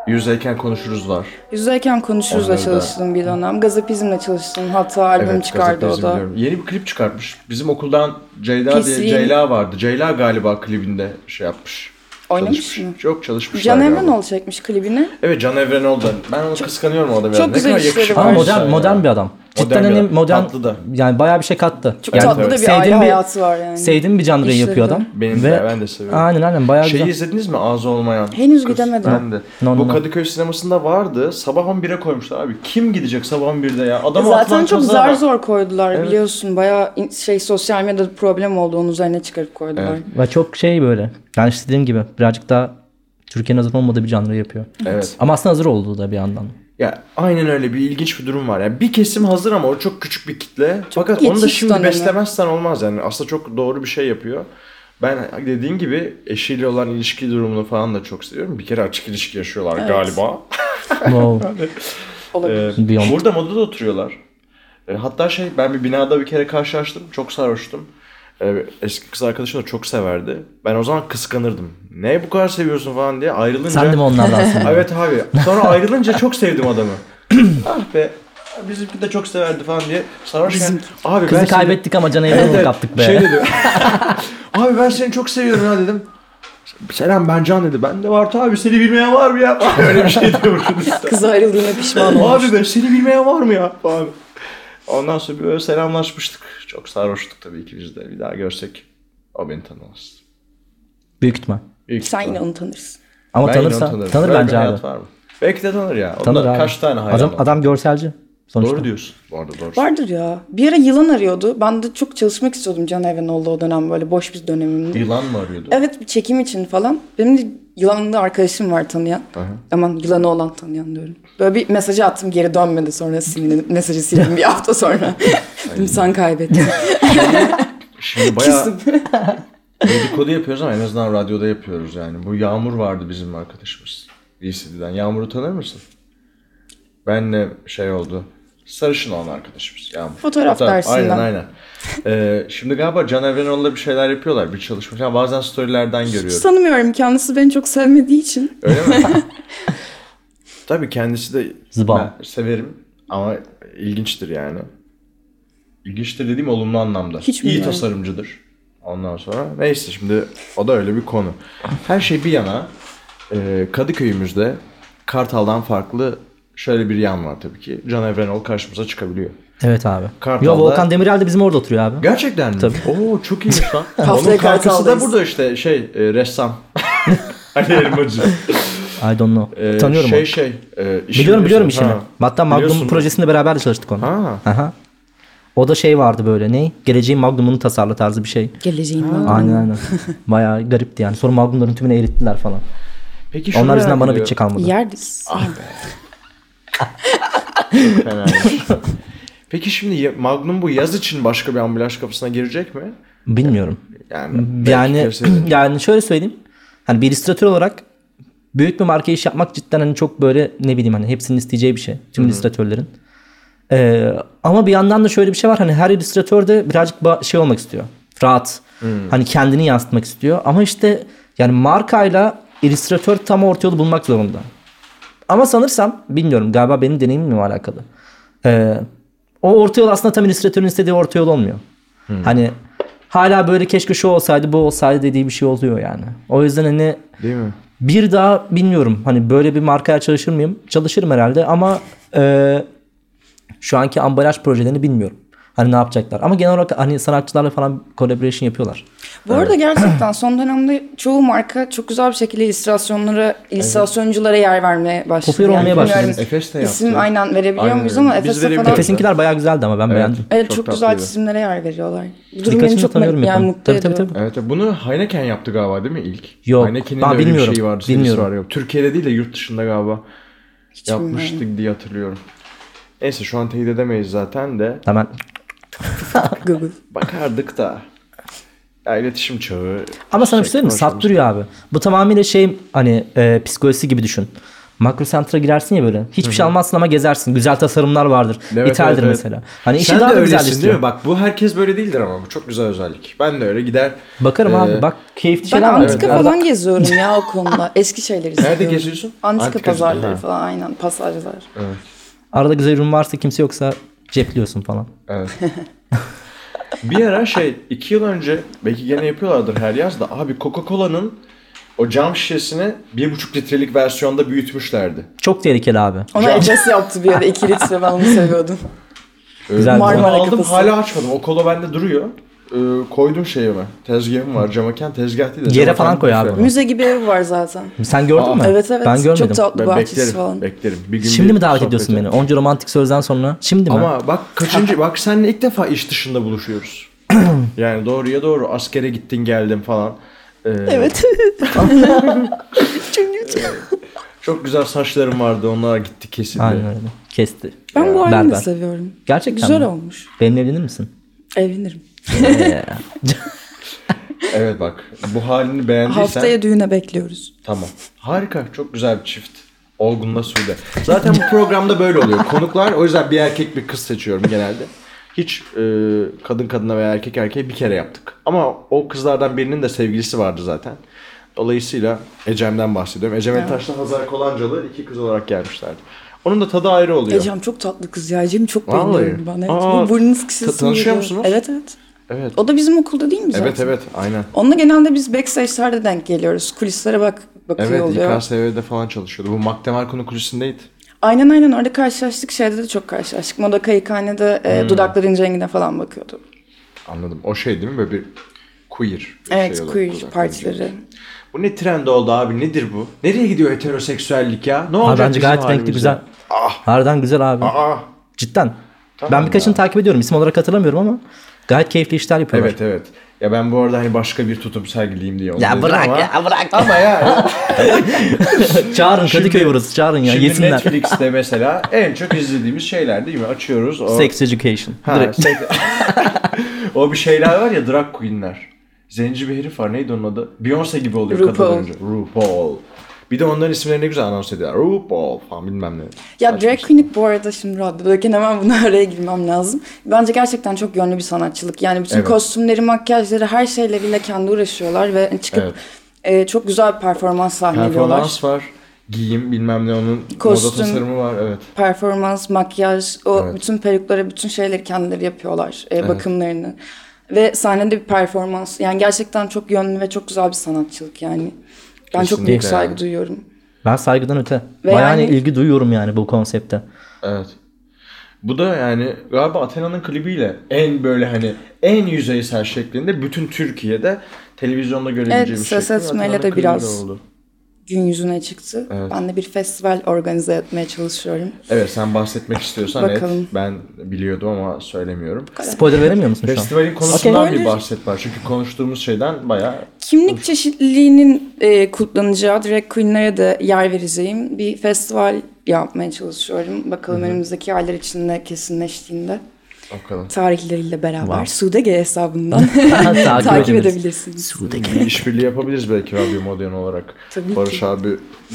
Speaker 4: Yüzeyken konuşuruz var.
Speaker 5: Yüzdeyken konuşuruzla
Speaker 4: Onları da-
Speaker 5: çalıştım bir dönem. Gazapizmle çalıştım. Hatta albüm çıkardı
Speaker 4: Gazete
Speaker 5: o da.
Speaker 4: izliyorum. Yeni bir klip çıkartmış. Bizim okuldan Ceyda
Speaker 5: Kesin.
Speaker 4: diye Ceyla vardı. Ceyla galiba klibinde şey yapmış.
Speaker 5: Oynamış
Speaker 4: Çalışmış.
Speaker 5: mı?
Speaker 4: Yok çalışmış.
Speaker 5: Can Evrenoğlu çekmiş klibini.
Speaker 4: Evet Can Evrenoğlu da. Ben onu kıskanıyorum orada biraz.
Speaker 5: çok güzel işleri
Speaker 4: yakışıklı
Speaker 5: var.
Speaker 3: Ama
Speaker 4: bir
Speaker 3: modern
Speaker 4: insan
Speaker 3: modern
Speaker 4: ya.
Speaker 3: bir adam. Cidden
Speaker 4: bir
Speaker 3: hani
Speaker 4: adam.
Speaker 3: modern
Speaker 4: Tatlı da.
Speaker 3: yani bayağı bir şey kattı.
Speaker 5: Çok
Speaker 3: Yani
Speaker 5: tatlı da bir
Speaker 3: sevdiğim
Speaker 5: aile hayatı var yani.
Speaker 3: Sevdiğim bir janrayı
Speaker 5: İşleri
Speaker 3: yapıyor
Speaker 5: de.
Speaker 3: adam.
Speaker 4: Benim de, ben de seviyorum.
Speaker 3: Aynen aynen bayağı
Speaker 4: Şeyi
Speaker 3: güzel.
Speaker 4: izlediniz mi Ağzı Olmayan?
Speaker 5: Henüz
Speaker 4: Kız.
Speaker 5: gidemedim.
Speaker 4: Ben de.
Speaker 3: No, no,
Speaker 4: Bu
Speaker 3: no.
Speaker 4: Kadıköy sinemasında vardı. Sabah 11'e koymuşlar abi. Kim gidecek sabah 11'de ya? Adam
Speaker 5: E Zaten çok zar
Speaker 4: zar
Speaker 5: zor koydular biliyorsun. Bayağı in- şey sosyal medyada problem oldu. Onun üzerine çıkarıp koydular.
Speaker 3: Ve çok şey böyle. Yani işte dediğim gibi birazcık daha Türkiye'nin hazır olmadığı bir janrayı yapıyor.
Speaker 4: Evet.
Speaker 3: Ama aslında hazır olduğu da bir yandan.
Speaker 4: Ya aynen öyle bir ilginç bir durum var. Yani bir kesim hazır ama o çok küçük bir kitle. Fakat onu da
Speaker 5: geçiş
Speaker 4: şimdi
Speaker 5: dönemi.
Speaker 4: beslemezsen olmaz yani. Aslında çok doğru bir şey yapıyor. Ben dediğin gibi eşiyle olan ilişki durumunu falan da çok seviyorum. Bir kere açık ilişki yaşıyorlar galiba.
Speaker 3: Wow.
Speaker 4: Ee,
Speaker 3: Beyond.
Speaker 4: burada modada oturuyorlar. Ee, hatta şey ben bir binada bir kere karşılaştım. Çok sarhoştum. Ee, eski kız arkadaşım da çok severdi. Ben o zaman kıskanırdım. Ne bu kadar seviyorsun falan diye ayrılınca.
Speaker 3: Sen de mi onlardansın?
Speaker 4: Evet abi. Sonra ayrılınca çok sevdim adamı. ah be. Bizimki de çok severdi falan diye. Sarhoşken. Abi ben
Speaker 3: Kızı
Speaker 4: seni-
Speaker 3: kaybettik ama Can
Speaker 4: Evet,
Speaker 3: Evren'i
Speaker 4: evet.
Speaker 3: kaptık be.
Speaker 4: Şey dedi. abi ben seni çok seviyorum ha dedim. Selam ben Can dedi. Ben de var abi seni bilmeyen var mı ya? Öyle bir şey diyormuşsunuz.
Speaker 5: Kız ayrıldığına pişman olmuş.
Speaker 4: Abi be seni bilmeyen var mı ya? Abi. Ondan sonra bir böyle selamlaşmıştık. Çok sarhoştuk tabii ikimiz de. Bir daha görsek o beni tanımaz.
Speaker 3: Büyük ihtimal.
Speaker 4: İlk
Speaker 5: Sen yine onu tanırsın.
Speaker 3: Ama
Speaker 4: Ben yine onu
Speaker 3: tanırsa
Speaker 4: tanırım.
Speaker 3: tanır
Speaker 4: Böyle bir
Speaker 3: bence
Speaker 4: hayat
Speaker 3: abi.
Speaker 4: var mı? Belki de tanır ya. Ondan
Speaker 3: Tanır abi.
Speaker 4: Kaç tane hayran
Speaker 3: adam,
Speaker 4: var?
Speaker 3: adam görselci. Sonuçta.
Speaker 4: Doğru diyorsun. Bu arada doğru.
Speaker 5: Vardır ya. Bir ara yılan arıyordu. Ben de çok çalışmak istiyordum Can Evenoğlu o dönem böyle boş bir dönemimde.
Speaker 4: Yılan mı arıyordu?
Speaker 5: Evet bir çekim için falan. Benim de yılanlı arkadaşım var tanıyan. Aman yılanı olan tanıyan diyorum. Böyle bir mesajı attım geri dönmedi sonra silindim. Mesajı sildim bir hafta sonra. Dedim sen kaybettin.
Speaker 4: Şimdi bayağı dedikodu yapıyoruz ama en azından radyoda yapıyoruz yani. Bu Yağmur vardı bizim arkadaşımız. VCD'den. Yağmur'u tanır mısın? Benle şey oldu. Sarışın olan arkadaşımız Yağmur.
Speaker 5: Fotoğraf dersinden.
Speaker 4: Aynen aynen. Ee, şimdi galiba Can Evrenoğlu'la bir şeyler yapıyorlar. Bir çalışma. Yani bazen storylerden görüyorum.
Speaker 5: Sanmıyorum kendisi beni çok sevmediği için.
Speaker 4: Öyle mi? Tabii kendisi de
Speaker 3: Zıbam.
Speaker 4: Ben severim ama ilginçtir yani. İlginçtir dediğim olumlu anlamda.
Speaker 5: Hiç
Speaker 4: İyi
Speaker 5: bilmiyorum.
Speaker 4: tasarımcıdır. Ondan sonra neyse şimdi o da öyle bir konu. Her şey bir yana e, Kadıköy'ümüzde Kartal'dan farklı şöyle bir yan var tabii ki. Can Evrenol karşımıza çıkabiliyor.
Speaker 3: Evet abi.
Speaker 4: Kartal'da-
Speaker 3: Yo Volkan Demirel de bizim orada oturuyor abi.
Speaker 4: Gerçekten mi? Oo çok iyi lan. Onun
Speaker 5: Haftaya
Speaker 4: kankası da
Speaker 5: Kartal'dayız.
Speaker 4: burada işte şey e, ressam. Ali Elmacı.
Speaker 3: I don't know.
Speaker 4: E,
Speaker 3: Tanıyorum
Speaker 4: şey,
Speaker 3: onu.
Speaker 4: Şey e, işini
Speaker 3: Biliyorum biliyorum
Speaker 4: biliyorsun.
Speaker 3: işini.
Speaker 4: Ha.
Speaker 3: Hatta
Speaker 4: Biliyorsun.
Speaker 3: Magnum projesinde beraber de çalıştık onu.
Speaker 4: Ha.
Speaker 3: Aha. O da şey vardı böyle ne? Geleceğin Magnum'unu tasarla tarzı bir şey.
Speaker 5: Geleceğin
Speaker 3: Aynen aynen. Bayağı garipti yani. Sonra Magnum'ların tümünü erittiler falan.
Speaker 4: Peki şunu
Speaker 3: Onlar yüzünden
Speaker 4: merak
Speaker 3: bana
Speaker 4: ediyorum.
Speaker 3: bütçe kalmadı.
Speaker 5: Yerdiz.
Speaker 4: Fenermiş. Peki şimdi ya- Magnum bu yaz için başka bir ambulans kapısına girecek mi?
Speaker 3: Bilmiyorum.
Speaker 4: Yani
Speaker 3: Yani
Speaker 4: belki kimse-
Speaker 3: yani şöyle söyleyeyim. Hani bir illüstratör olarak büyük bir marka iş yapmak cidden hani çok böyle ne bileyim hani hepsinin isteyeceği bir şey. Tüm illüstratörlerin. Ee, ama bir yandan da şöyle bir şey var. Hani her illüstratör de birazcık ba- şey olmak istiyor. Rahat. Hani kendini yansıtmak istiyor. Ama işte yani markayla illüstratör tam orta yolu bulmak zorunda. Ama sanırsam bilmiyorum galiba benim deneyimimle mi alakalı. Ee, o orta yol aslında tam illüstratörün istediği orta yol olmuyor. Hani hala böyle keşke şu olsaydı bu olsaydı dediği bir şey oluyor yani. O yüzden hani
Speaker 4: Değil mi?
Speaker 3: bir daha bilmiyorum hani böyle bir markaya çalışır mıyım? Çalışırım herhalde ama e, şu anki ambalaj projelerini bilmiyorum. Hani ne yapacaklar. Ama genel olarak hani sanatçılarla falan collaboration yapıyorlar.
Speaker 5: Bu arada gerçekten son dönemde çoğu marka çok güzel bir şekilde illüstrasyonlara, illüstrasyonculara yer vermeye başladı.
Speaker 3: Popüler olmaya başladı.
Speaker 5: bilmiyorum
Speaker 4: Efes de yaptı.
Speaker 5: İsim aynen verebiliyor
Speaker 4: Aynen
Speaker 5: muyuz
Speaker 4: öyle.
Speaker 5: ama
Speaker 4: Biz verebiliyoruz.
Speaker 5: Efes'e falan
Speaker 4: Efes'in-
Speaker 3: Efes'inkiler bayağı güzeldi ama ben beğendim.
Speaker 5: evet, çok,
Speaker 4: Çok
Speaker 5: güzel
Speaker 4: tatlıydı.
Speaker 5: çizimlere yer veriyorlar. Bu durum
Speaker 3: Birkaçını
Speaker 5: beni çok
Speaker 3: tanıyorum
Speaker 5: me- yani
Speaker 3: yapan.
Speaker 5: mutlu
Speaker 3: Tabii, tabii,
Speaker 5: ediyor.
Speaker 3: tabii.
Speaker 4: Evet bunu Heineken yaptı galiba değil mi ilk?
Speaker 3: Yok,
Speaker 4: Heineken'in
Speaker 3: ben
Speaker 4: de öyle bir
Speaker 3: bilmiyorum,
Speaker 4: şeyi vardı. serisi
Speaker 3: bilmiyorum.
Speaker 4: Var. ya. Türkiye'de değil de yurt dışında galiba yapmıştık
Speaker 5: bilmiyorum.
Speaker 4: diye hatırlıyorum. Neyse şu an teyit edemeyiz zaten de.
Speaker 3: Hemen
Speaker 4: Bakardık da. Ya, iletişim çağı.
Speaker 3: Ama sana bir şey
Speaker 4: şey
Speaker 3: söyleyeyim mi?
Speaker 4: konuşalım.
Speaker 3: Saptırıyor abi. Bu tamamıyla şey hani e, psikolojisi gibi düşün. Makro center'a girersin ya böyle. Hiçbir şey almazsın ama gezersin. Güzel tasarımlar vardır.
Speaker 4: Evet,
Speaker 3: İthaldir
Speaker 4: evet, evet.
Speaker 3: mesela. Hani işi
Speaker 4: Sen
Speaker 3: daha
Speaker 4: de
Speaker 3: da
Speaker 4: öylesin değil mi?
Speaker 3: güzelleştiriyor.
Speaker 4: Bak bu herkes böyle değildir ama bu çok güzel özellik. Ben de öyle gider.
Speaker 3: Bakarım
Speaker 4: Ee,
Speaker 3: abi bak keyifli
Speaker 5: Ben
Speaker 3: şeyler var.
Speaker 5: antika
Speaker 3: Evet,
Speaker 5: falan geziyorum ya o konuda. Eski şeyleri izliyorum.
Speaker 4: Nerede geziyorsun?
Speaker 5: Antika,
Speaker 4: Antikacıda,
Speaker 5: pazarları
Speaker 4: ha.
Speaker 5: falan aynen pasajlar.
Speaker 3: Arada güzel ürün varsa kimse yoksa cepliyorsun falan.
Speaker 4: Bir ara şey iki yıl önce belki gene yapıyorlardır her yaz da abi Coca-Cola'nın o cam şişesini bir buçuk litrelik versiyonda büyütmüşlerdi.
Speaker 3: Çok tehlikeli abi.
Speaker 5: Ona Efes yaptı bir ara 2 litre ben onu seviyordum.
Speaker 4: Ee,
Speaker 3: Güzel,
Speaker 4: onu
Speaker 5: güzel.
Speaker 4: aldım
Speaker 5: Marmara
Speaker 4: hala açmadım. O kola bende duruyor. Ee, koydum şeyime. Tezgahım var. Camaken tezgah değil de.
Speaker 3: Yere
Speaker 4: cam
Speaker 3: falan
Speaker 4: aken
Speaker 3: koy
Speaker 4: büfe.
Speaker 3: abi.
Speaker 5: Müze gibi ev var zaten.
Speaker 3: Sen gördün mü?
Speaker 5: Evet evet.
Speaker 3: Ben görmedim.
Speaker 5: Çok tatlı
Speaker 4: Ben
Speaker 5: bahçesi
Speaker 4: beklerim.
Speaker 5: falan.
Speaker 4: Beklerim. Bir gün
Speaker 3: Şimdi
Speaker 4: bir
Speaker 3: mi davet
Speaker 4: sohbete.
Speaker 3: ediyorsun beni? Onca romantik sözden sonra. Şimdi mi?
Speaker 4: Ama bak kaçıncı bak seninle ilk defa iş dışında buluşuyoruz. yani doğruya doğru askere gittin geldin falan. Ee, evet. Ee, Çok güzel saçlarım vardı onlar gitti kesildi.
Speaker 3: Aynen öyle. Kesti.
Speaker 5: Ben bu halini de
Speaker 3: Berber.
Speaker 5: seviyorum.
Speaker 3: Gerçekten
Speaker 5: Güzel
Speaker 3: mi?
Speaker 5: olmuş.
Speaker 3: Benimle evlenir misin?
Speaker 5: Evlenirim.
Speaker 4: Evet bak bu halini beğendiysen
Speaker 5: Haftaya düğüne bekliyoruz.
Speaker 4: tamam. Harika çok güzel bir çift. Olgun'la Sude. Zaten bu programda böyle oluyor. Konuklar o yüzden bir erkek bir kız seçiyorum genelde. Hiç e, kadın kadına veya erkek erkeğe bir kere yaptık. Ama o kızlardan birinin de sevgilisi vardı zaten. Dolayısıyla Ecem'den bahsediyorum. Ecem Taş'la Hazar Kolancalı iki kız olarak gelmişlerdi. Onun da tadı ayrı oluyor.
Speaker 5: Ecem çok tatlı kız ya. Ecem'i çok
Speaker 4: Vallahi.
Speaker 5: beğeniyorum ben. Evet.
Speaker 4: Aa,
Speaker 5: Bu burnunuz
Speaker 4: ta-
Speaker 5: kısılsın.
Speaker 4: tanışıyor musunuz?
Speaker 5: Evet evet.
Speaker 4: Evet.
Speaker 5: O da bizim okulda değil mi zaten?
Speaker 4: Evet evet aynen.
Speaker 5: Onunla genelde biz backstage'lerde denk geliyoruz. Kulislere bak bakıyor
Speaker 4: Evet
Speaker 5: oluyor.
Speaker 4: İKSV'de falan çalışıyordu. Bu Makdemar konu kulüsündeydi.
Speaker 5: Aynen aynen orada karşılaştık. Şeyde de çok karşılaştık. Moda kayıkhanede
Speaker 4: Hmm.
Speaker 5: e, dudakların rengine falan bakıyordu.
Speaker 4: Anladım. O şey değil mi böyle bir queer. bir
Speaker 5: Evet
Speaker 4: şey olarak
Speaker 5: queer
Speaker 4: kullanılıyor.
Speaker 5: partileri.
Speaker 4: Bu ne trend oldu abi nedir bu? Nereye gidiyor heteroseksüellik ya?
Speaker 3: Abi
Speaker 4: Ne olacak
Speaker 3: bence
Speaker 4: bizim
Speaker 3: gayet renkli
Speaker 4: halimize?
Speaker 3: güzel. Harbiden güzel abi.
Speaker 4: Aa,
Speaker 3: Cidden. ben birkaçını takip ediyorum. İsim olarak hatırlamıyorum ama gayet keyifli işler yapıyorlar.
Speaker 4: evet evet. Ya ben bu arada hani başka bir tutum sergileyim diye onu
Speaker 3: Ya
Speaker 4: dedim
Speaker 3: bırak
Speaker 4: ama...
Speaker 3: ya bırak.
Speaker 4: Ama ya
Speaker 3: Çağırın Kadıköy burası. Çağırın ya.
Speaker 4: şimdi
Speaker 3: Yesinler.
Speaker 4: Netflix'te mesela en çok izlediğimiz şeyler değil mi? Açıyoruz o...
Speaker 3: Sex education.
Speaker 4: Ha, şey
Speaker 3: Direkt.
Speaker 4: sek- o bir şeyler var ya drag queenler. Zenci bir herif var neydi onun adı? Beyoncé gibi oluyor
Speaker 5: RuPaul.
Speaker 4: kadın önce. RuPaul. Bir de onların isimlerini ne güzel anons ediyorlar. RuPaul falan bilmem ne.
Speaker 5: Ya drag queen'lik bu arada şimdi radyodayken hemen buna araya girmem lazım. Bence gerçekten çok yönlü bir sanatçılık. Yani bütün
Speaker 4: Evet.
Speaker 5: kostümleri, makyajları, her şeyleriyle kendi uğraşıyorlar ve çıkıp
Speaker 4: Evet.
Speaker 5: e, çok güzel bir performans sahneliyorlar.
Speaker 4: Performans var. Giyim bilmem ne onun moda
Speaker 5: Kostüm.
Speaker 4: tasarımı var. Evet.
Speaker 5: Performans, makyaj, o
Speaker 4: Evet.
Speaker 5: bütün perukları, bütün şeyleri kendileri yapıyorlar. e, bakımlarını. Ve sahnede bir performans. Yani gerçekten çok yönlü ve çok güzel bir sanatçılık yani. Ben çok
Speaker 4: Kesinlikle
Speaker 5: büyük saygı
Speaker 4: yani.
Speaker 5: duyuyorum.
Speaker 3: Ben saygıdan öte.
Speaker 5: Ve
Speaker 3: Bayağı hani
Speaker 5: yani-
Speaker 3: ilgi duyuyorum yani bu konsepte.
Speaker 4: Evet. Bu da yani galiba Athena'nın klibiyle en böyle hani en yüzeysel şeklinde bütün Türkiye'de televizyonda görebileceğimiz
Speaker 5: Evet,
Speaker 4: şekilde
Speaker 5: ses etmeyle
Speaker 4: Athena'nın
Speaker 5: de
Speaker 4: klibiyle
Speaker 5: biraz-
Speaker 4: oldu.
Speaker 5: Gün yüzüne çıktı.
Speaker 4: Evet.
Speaker 5: Ben de bir festival organize etmeye çalışıyorum.
Speaker 4: Evet sen bahsetmek istiyorsan et.
Speaker 5: Bakalım.
Speaker 4: Ben biliyordum ama söylemiyorum.
Speaker 3: Spoiler veremiyor musun şu an?
Speaker 4: Festivalin konusundan
Speaker 5: Okey.
Speaker 4: bir bahset var. Çünkü konuştuğumuz şeyden bayağı
Speaker 5: Kimlik çeşitliliğinin e, kullanacağı drag queenlere de yer vereceğim bir festival yapmaya çalışıyorum. Bakalım önümüzdeki aylar içinde kesinleştiğinde
Speaker 4: bakalım.
Speaker 5: tarihleriyle beraber Sudege hesabından
Speaker 3: Takip
Speaker 5: takip
Speaker 3: edebiliriz.
Speaker 5: edebilirsiniz.
Speaker 4: Bir işbirliği yapabiliriz belki radyo modern olarak.
Speaker 5: Tabii
Speaker 4: Barış
Speaker 5: ki.
Speaker 4: abi.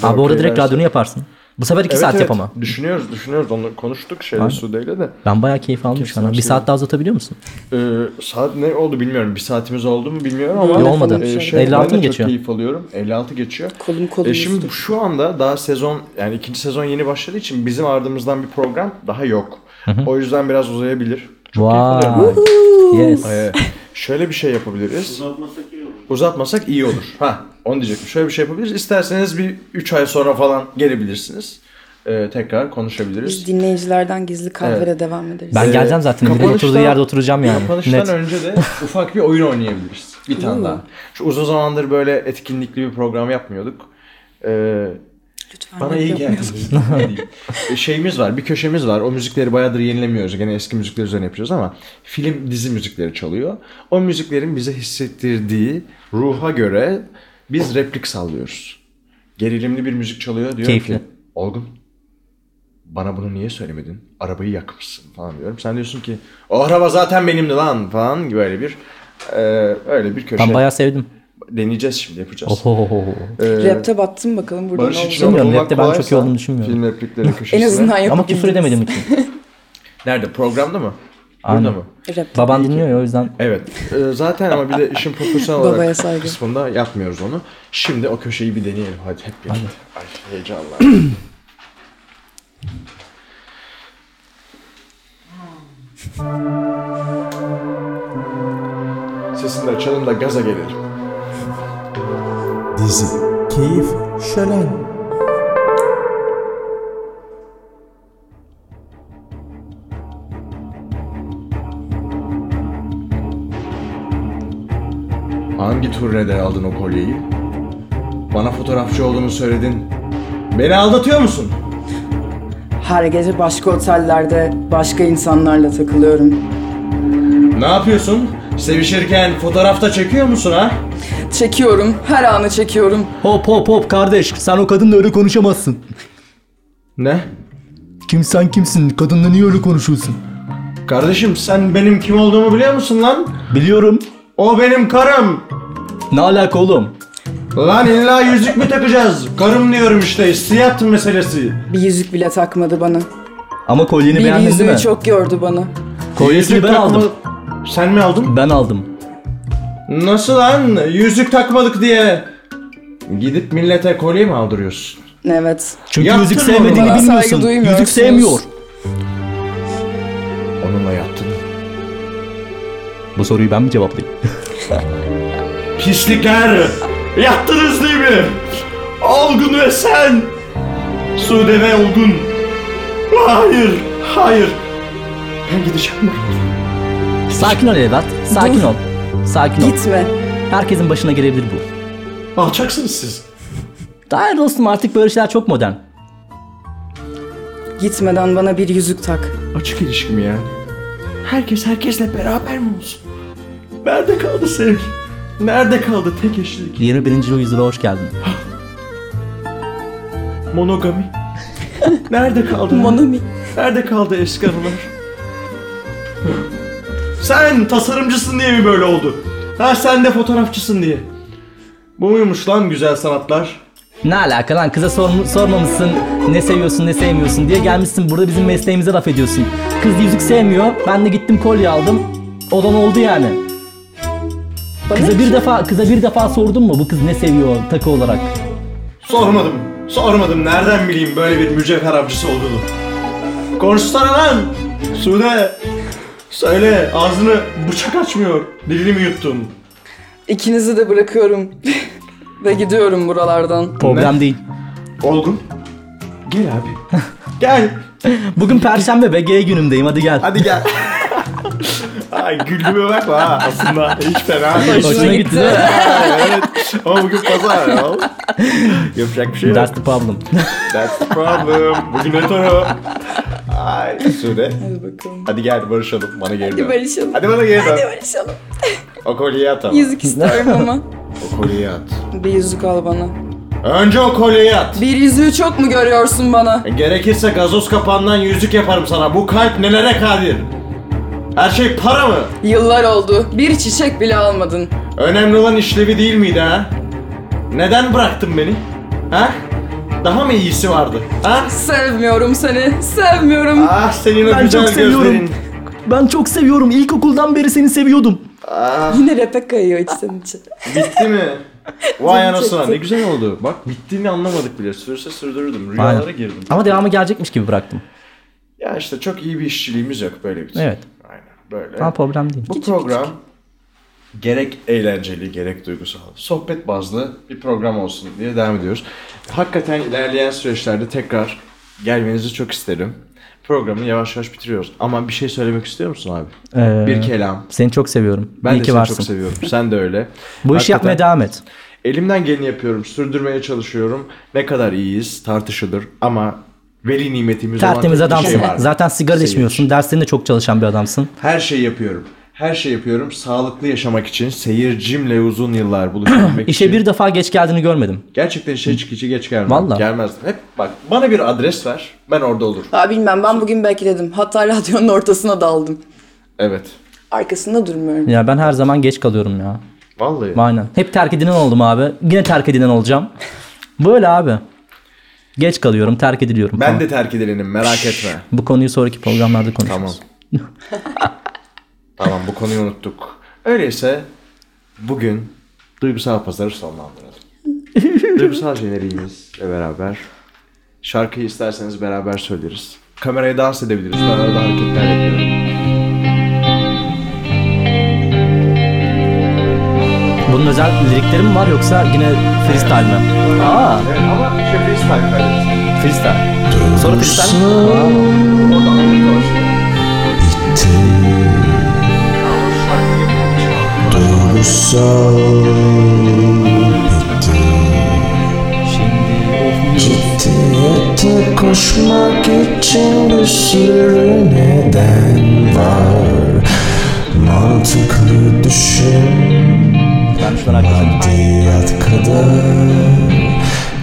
Speaker 3: Abi orada direkt
Speaker 4: edersin.
Speaker 3: radyonu yaparsın. Bu sefer iki
Speaker 4: Evet,
Speaker 3: saat
Speaker 4: evet.
Speaker 3: yap ama.
Speaker 4: Düşünüyoruz düşünüyoruz onu konuştuk şeyle Sude'yle de.
Speaker 3: Ben bayağı keyif aldım şu an.
Speaker 4: saat
Speaker 3: Bir
Speaker 4: şey-
Speaker 3: saat daha uzatabiliyor musun?
Speaker 4: Ee, saat ne oldu bilmiyorum. Bir saatimiz oldu mu bilmiyorum ama.
Speaker 3: Yok, olmadı.
Speaker 4: Ee,
Speaker 3: 56
Speaker 4: ben de
Speaker 3: mı geçiyor?
Speaker 4: Çok keyif alıyorum. 56 geçiyor.
Speaker 5: Kolum kolum
Speaker 4: Ee, şimdi
Speaker 5: üstü.
Speaker 4: şu anda daha sezon yani ikinci sezon yeni başladığı için bizim ardımızdan bir program daha yok. O yüzden biraz uzayabilir. Çok keyif
Speaker 3: Vay.
Speaker 4: alıyorum.
Speaker 3: Yes.
Speaker 4: Ee, şöyle bir şey yapabiliriz. Uzatmasak iyi olur. Uzatmasak iyi olur. Ha, onu diyecektim. Şöyle bir şey yapabiliriz. İsterseniz bir 3 ay sonra falan gelebilirsiniz. e, tekrar konuşabiliriz.
Speaker 5: Biz dinleyicilerden gizli kahvede devam ederiz.
Speaker 3: Ben geleceğim zaten. Direkt
Speaker 4: e, kapanıştan-
Speaker 3: oturduğu yerde oturacağım yani.
Speaker 4: Kapanıştan
Speaker 3: Net.
Speaker 4: önce de ufak bir oyun oynayabiliriz. Bir tane daha. Şu uzun zamandır böyle etkinlikli bir program yapmıyorduk. Ee,
Speaker 5: Lütfen
Speaker 4: bana iyi geldi. Ee, Şeyimiz var, bir köşemiz var. O müzikleri bayağıdır yenilemiyoruz. Gene eski müzikler üzerine yapıyoruz ama film, dizi müzikleri çalıyor. O müziklerin bize hissettirdiği ruha göre biz replik sallıyoruz. Gerilimli bir müzik çalıyor diyorum
Speaker 3: Keyifli.
Speaker 4: ki Olgun bana bunu niye söylemedin? Arabayı yakmışsın falan diyorum. Sen diyorsun ki o araba zaten benimdi lan falan gibi öyle bir e, öyle bir köşe.
Speaker 3: Ben bayağı sevdim.
Speaker 4: Deneyeceğiz şimdi yapacağız. E,
Speaker 3: Oho.
Speaker 7: Rapte battım bakalım buradan
Speaker 4: Barış
Speaker 7: olacak.
Speaker 4: için onu
Speaker 3: Bilmiyorum,
Speaker 4: bulmak
Speaker 3: rapte ben çok iyi
Speaker 4: kolaysa
Speaker 3: olduğunu düşünmüyorum.
Speaker 4: Film replikleri köşesine.
Speaker 7: En azından yapıp
Speaker 3: Ama küfür
Speaker 7: gideriz.
Speaker 3: edemedim için.
Speaker 4: Nerede? Programda mı?
Speaker 3: Aynen.
Speaker 4: Burada mı?
Speaker 5: Rap.
Speaker 3: Baban dinliyor ya o yüzden.
Speaker 4: Evet. Ee, zaten ama bir de işin profesyonel
Speaker 7: Babaya
Speaker 4: olarak
Speaker 7: saygı.
Speaker 4: kısmında yapmıyoruz onu. Şimdi o köşeyi bir deneyelim. Hadi hep birlikte. Ay heyecanla. Sesini de açalım da gaza gelelim.
Speaker 9: Dizi Keyif Şölen
Speaker 4: Hangi turnede aldın o kolyeyi? Bana fotoğrafçı olduğunu söyledin. Beni aldatıyor musun?
Speaker 7: Her gece başka otellerde başka insanlarla takılıyorum.
Speaker 4: Ne yapıyorsun? Sevişirken fotoğrafta çekiyor musun ha?
Speaker 7: Çekiyorum, her anı çekiyorum.
Speaker 3: Hop hop hop kardeş sen o kadınla öyle konuşamazsın.
Speaker 4: Ne?
Speaker 3: Kim sen kimsin? Kadınla niye öyle konuşuyorsun?
Speaker 4: Kardeşim sen benim kim olduğumu biliyor musun lan?
Speaker 3: Biliyorum.
Speaker 4: O benim karım.
Speaker 3: Ne alaka oğlum?
Speaker 4: Lan illa yüzük mü takacağız? Karım diyorum işte hissiyat meselesi.
Speaker 7: Bir yüzük bile takmadı bana.
Speaker 3: Ama kolyeni
Speaker 7: Bir
Speaker 3: beğendin değil mi?
Speaker 7: yüzüğü çok gördü bana.
Speaker 3: Kolyesini
Speaker 4: Yüzük
Speaker 3: ben
Speaker 4: takma-
Speaker 3: aldım.
Speaker 4: Sen mi aldın?
Speaker 3: Ben aldım.
Speaker 4: Nasıl lan? Yüzük takmadık diye. Gidip millete kolye mi aldırıyorsun?
Speaker 7: Evet.
Speaker 3: Çünkü
Speaker 4: Yaptın
Speaker 3: yüzük
Speaker 4: mı
Speaker 3: sevmediğini
Speaker 4: bunu?
Speaker 7: Bana saygı
Speaker 3: bilmiyorsun.
Speaker 7: duymuyorsunuz.
Speaker 3: Yüzük sevmiyor.
Speaker 4: Onunla yattın.
Speaker 3: Bu soruyu ben mi cevaplayayım?
Speaker 4: Pislikler! er! Yattınız değil mi? Olgun ve sen! Sude ve Olgun! Hayır! Hayır! Ben gideceğim.
Speaker 3: Sakin ol evlat. Sakin ol. Sakin ol.
Speaker 7: Gitme.
Speaker 3: Herkesin başına gelebilir bu.
Speaker 4: Alçaksınız siz.
Speaker 3: Hayır dostum artık böyle şeyler çok modern.
Speaker 7: Gitmeden bana bir yüzük tak.
Speaker 4: Açık ilişki mi yani? Herkes herkesle beraber mi olsun? Nerede kaldı sevgi? Nerede kaldı tek eşlilik?
Speaker 3: 21. yüzyıla hoş geldin.
Speaker 4: Monogami? Nerede kaldı?
Speaker 7: Monami.
Speaker 4: Nerede kaldı eski anılar? Sen tasarımcısın diye mi böyle oldu? Ha sen de fotoğrafçısın diye. Bu muymuş lan güzel sanatlar?
Speaker 3: Ne alaka lan kıza sorm- sormamışsın ne seviyorsun ne sevmiyorsun diye gelmişsin burada bizim mesleğimize laf ediyorsun. Kız yüzük sevmiyor ben de gittim kolye aldım olan oldu yani. Kıza bir defa kıza bir defa sordun mu bu kız ne seviyor takı olarak?
Speaker 4: Sormadım. Sormadım. Nereden bileyim böyle bir mücevher avcısı olduğunu? Konuşsana lan! Sude! Söyle ağzını bıçak açmıyor. Dilini mi yuttun?
Speaker 7: İkinizi de bırakıyorum. Ve gidiyorum buralardan.
Speaker 3: Problem değil.
Speaker 4: Olgun. Gel abi. gel.
Speaker 3: Bugün perşembe ve gay günümdeyim hadi gel.
Speaker 4: Hadi gel. Ay güldüğüme bakma ha aslında. Hiç fena değil.
Speaker 3: Hoşuna gitti değil mi?
Speaker 4: evet. Ama bugün pazar ya. Yapacak bir şey yok.
Speaker 3: That's the problem.
Speaker 4: That's the problem. Bugün etoro. Ay Sude.
Speaker 7: Hadi bakalım.
Speaker 4: Hadi gel barışalım. Bana geri dön.
Speaker 7: Barışalım.
Speaker 4: Hadi bana geri dön.
Speaker 7: Hadi barışalım.
Speaker 4: O kolyeyi at ama.
Speaker 7: Yüzük istiyorum ama.
Speaker 4: O kolyeyi at.
Speaker 7: Bir yüzük al bana.
Speaker 4: Önce o kolyeyi at.
Speaker 7: Bir yüzüğü çok mu görüyorsun bana?
Speaker 4: Gerekirse gazoz kapağından yüzük yaparım sana. Bu kalp nelere kadir? Her şey para mı?
Speaker 7: Yıllar oldu. Bir çiçek bile almadın.
Speaker 4: Önemli olan işlevi değil miydi ha? Neden bıraktın beni? Ha? Daha mı iyisi vardı? Ha?
Speaker 7: Sevmiyorum seni. Sevmiyorum.
Speaker 4: Ah senin o
Speaker 3: Ben
Speaker 4: güzel
Speaker 3: çok seviyorum.
Speaker 4: gözlerin.
Speaker 3: Ben çok seviyorum. İlkokuldan beri seni seviyordum. Ah.
Speaker 7: Yine rap'e kayıyor içten içe.
Speaker 4: Bitti mi? Vay
Speaker 7: Canım
Speaker 4: anasına
Speaker 7: çekti.
Speaker 4: ne güzel oldu. Bak bittiğini anlamadık bile. Sürse sürdürürdüm. Rüyalara
Speaker 3: Aynen.
Speaker 4: girdim.
Speaker 3: Ama devamı gelecekmiş gibi bıraktım.
Speaker 4: Ya işte çok iyi bir işçiliğimiz yok böyle bir şey.
Speaker 3: Evet.
Speaker 4: Aynen böyle.
Speaker 3: Ama problem değil.
Speaker 4: Bu program gerek eğlenceli gerek duygusal, sohbet bazlı bir program olsun diye devam ediyoruz. Hakikaten ilerleyen süreçlerde tekrar Gelmenizi çok isterim. Programı yavaş yavaş bitiriyoruz. Ama bir şey söylemek istiyor musun abi?
Speaker 3: Ee,
Speaker 4: bir kelam.
Speaker 3: Seni çok seviyorum.
Speaker 4: Ben
Speaker 3: İyi
Speaker 4: de
Speaker 3: ki
Speaker 4: seni
Speaker 3: varsın.
Speaker 4: çok seviyorum. Sen de öyle.
Speaker 3: Bu işi yapmaya
Speaker 4: Hakikaten-
Speaker 3: devam et.
Speaker 4: Elimden geleni yapıyorum, sürdürmeye çalışıyorum. Ne kadar iyiyiz tartışılır ama veli nimetimiz
Speaker 3: Tertemiz
Speaker 4: olan tek bir
Speaker 3: adamsın.
Speaker 4: şey var.
Speaker 3: Zaten sigara da
Speaker 4: Seyirci.
Speaker 3: içmiyorsun. Derslerinde çok çalışan bir adamsın.
Speaker 4: Her şeyi yapıyorum. Her şeyi yapıyorum sağlıklı yaşamak için. Seyircimle uzun yıllar buluşabilmek
Speaker 3: İşe
Speaker 4: için.
Speaker 3: bir defa geç geldiğini görmedim.
Speaker 4: Gerçekten işe çıkıcı geç gelmem.
Speaker 3: Vallahi.
Speaker 4: Gelmezdim. Hep bak bana bir adres ver. Ben orada olurum.
Speaker 7: Daha bilmem ben bugün bekledim. Hatta radyonun ortasına daldım.
Speaker 4: Evet.
Speaker 7: Arkasında durmuyorum.
Speaker 3: Ya ben her zaman geç kalıyorum ya.
Speaker 4: Vallahi.
Speaker 3: Aynen. Hep terk edilen oldum abi. Yine terk edilen olacağım. Böyle abi. Geç kalıyorum, terk ediliyorum.
Speaker 4: ben
Speaker 3: falan.
Speaker 4: de terk edilenim merak etme.
Speaker 3: Bu konuyu sonraki programlarda
Speaker 4: Tamam.
Speaker 3: konuşuruz.
Speaker 4: tamam bu konuyu unuttuk. Öyleyse bugün duygusal pazarı sonlandıralım. duygusal jeneriğimizle beraber şarkıyı isterseniz beraber söyleriz. Kameraya dans edebiliriz. Ben arada hareketler yapıyorum.
Speaker 3: Bunun özel lirikleri mi var yoksa yine freestyle mi? Aa,
Speaker 4: Evet ama şey freestyle kaydettim.
Speaker 3: freestyle. Sonra freestyle.
Speaker 4: Orada anlık olsun.
Speaker 1: Diyete koşmak için bir sürü neden var Mantıklı düşün
Speaker 3: Ben şunları arkadaşlar.
Speaker 1: Diyet kadar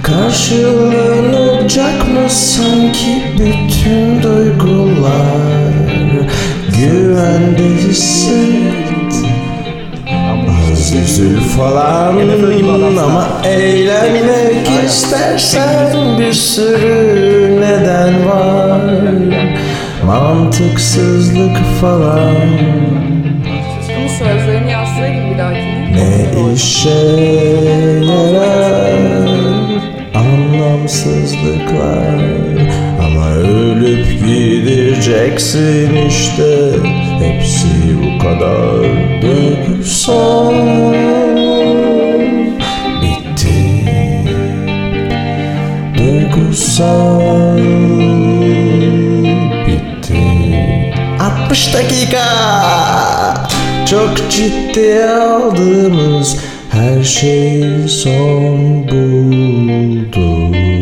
Speaker 1: Karşılanacak mı sanki bütün duygular Güvende hisset Az üzül falan ama eğlenmek istersen bir sürü neden var Mantıksızlık falan
Speaker 7: Bunun sözlerini yazsaydım bir dahakine.
Speaker 1: ne işe yarar anlamsızlıklar Ama ölüp gideceksin işte Hepsi bu kadar duygusal Bitti Duygusal bitti 60 dakika Çok ciddiye aldığımız her şey son buldu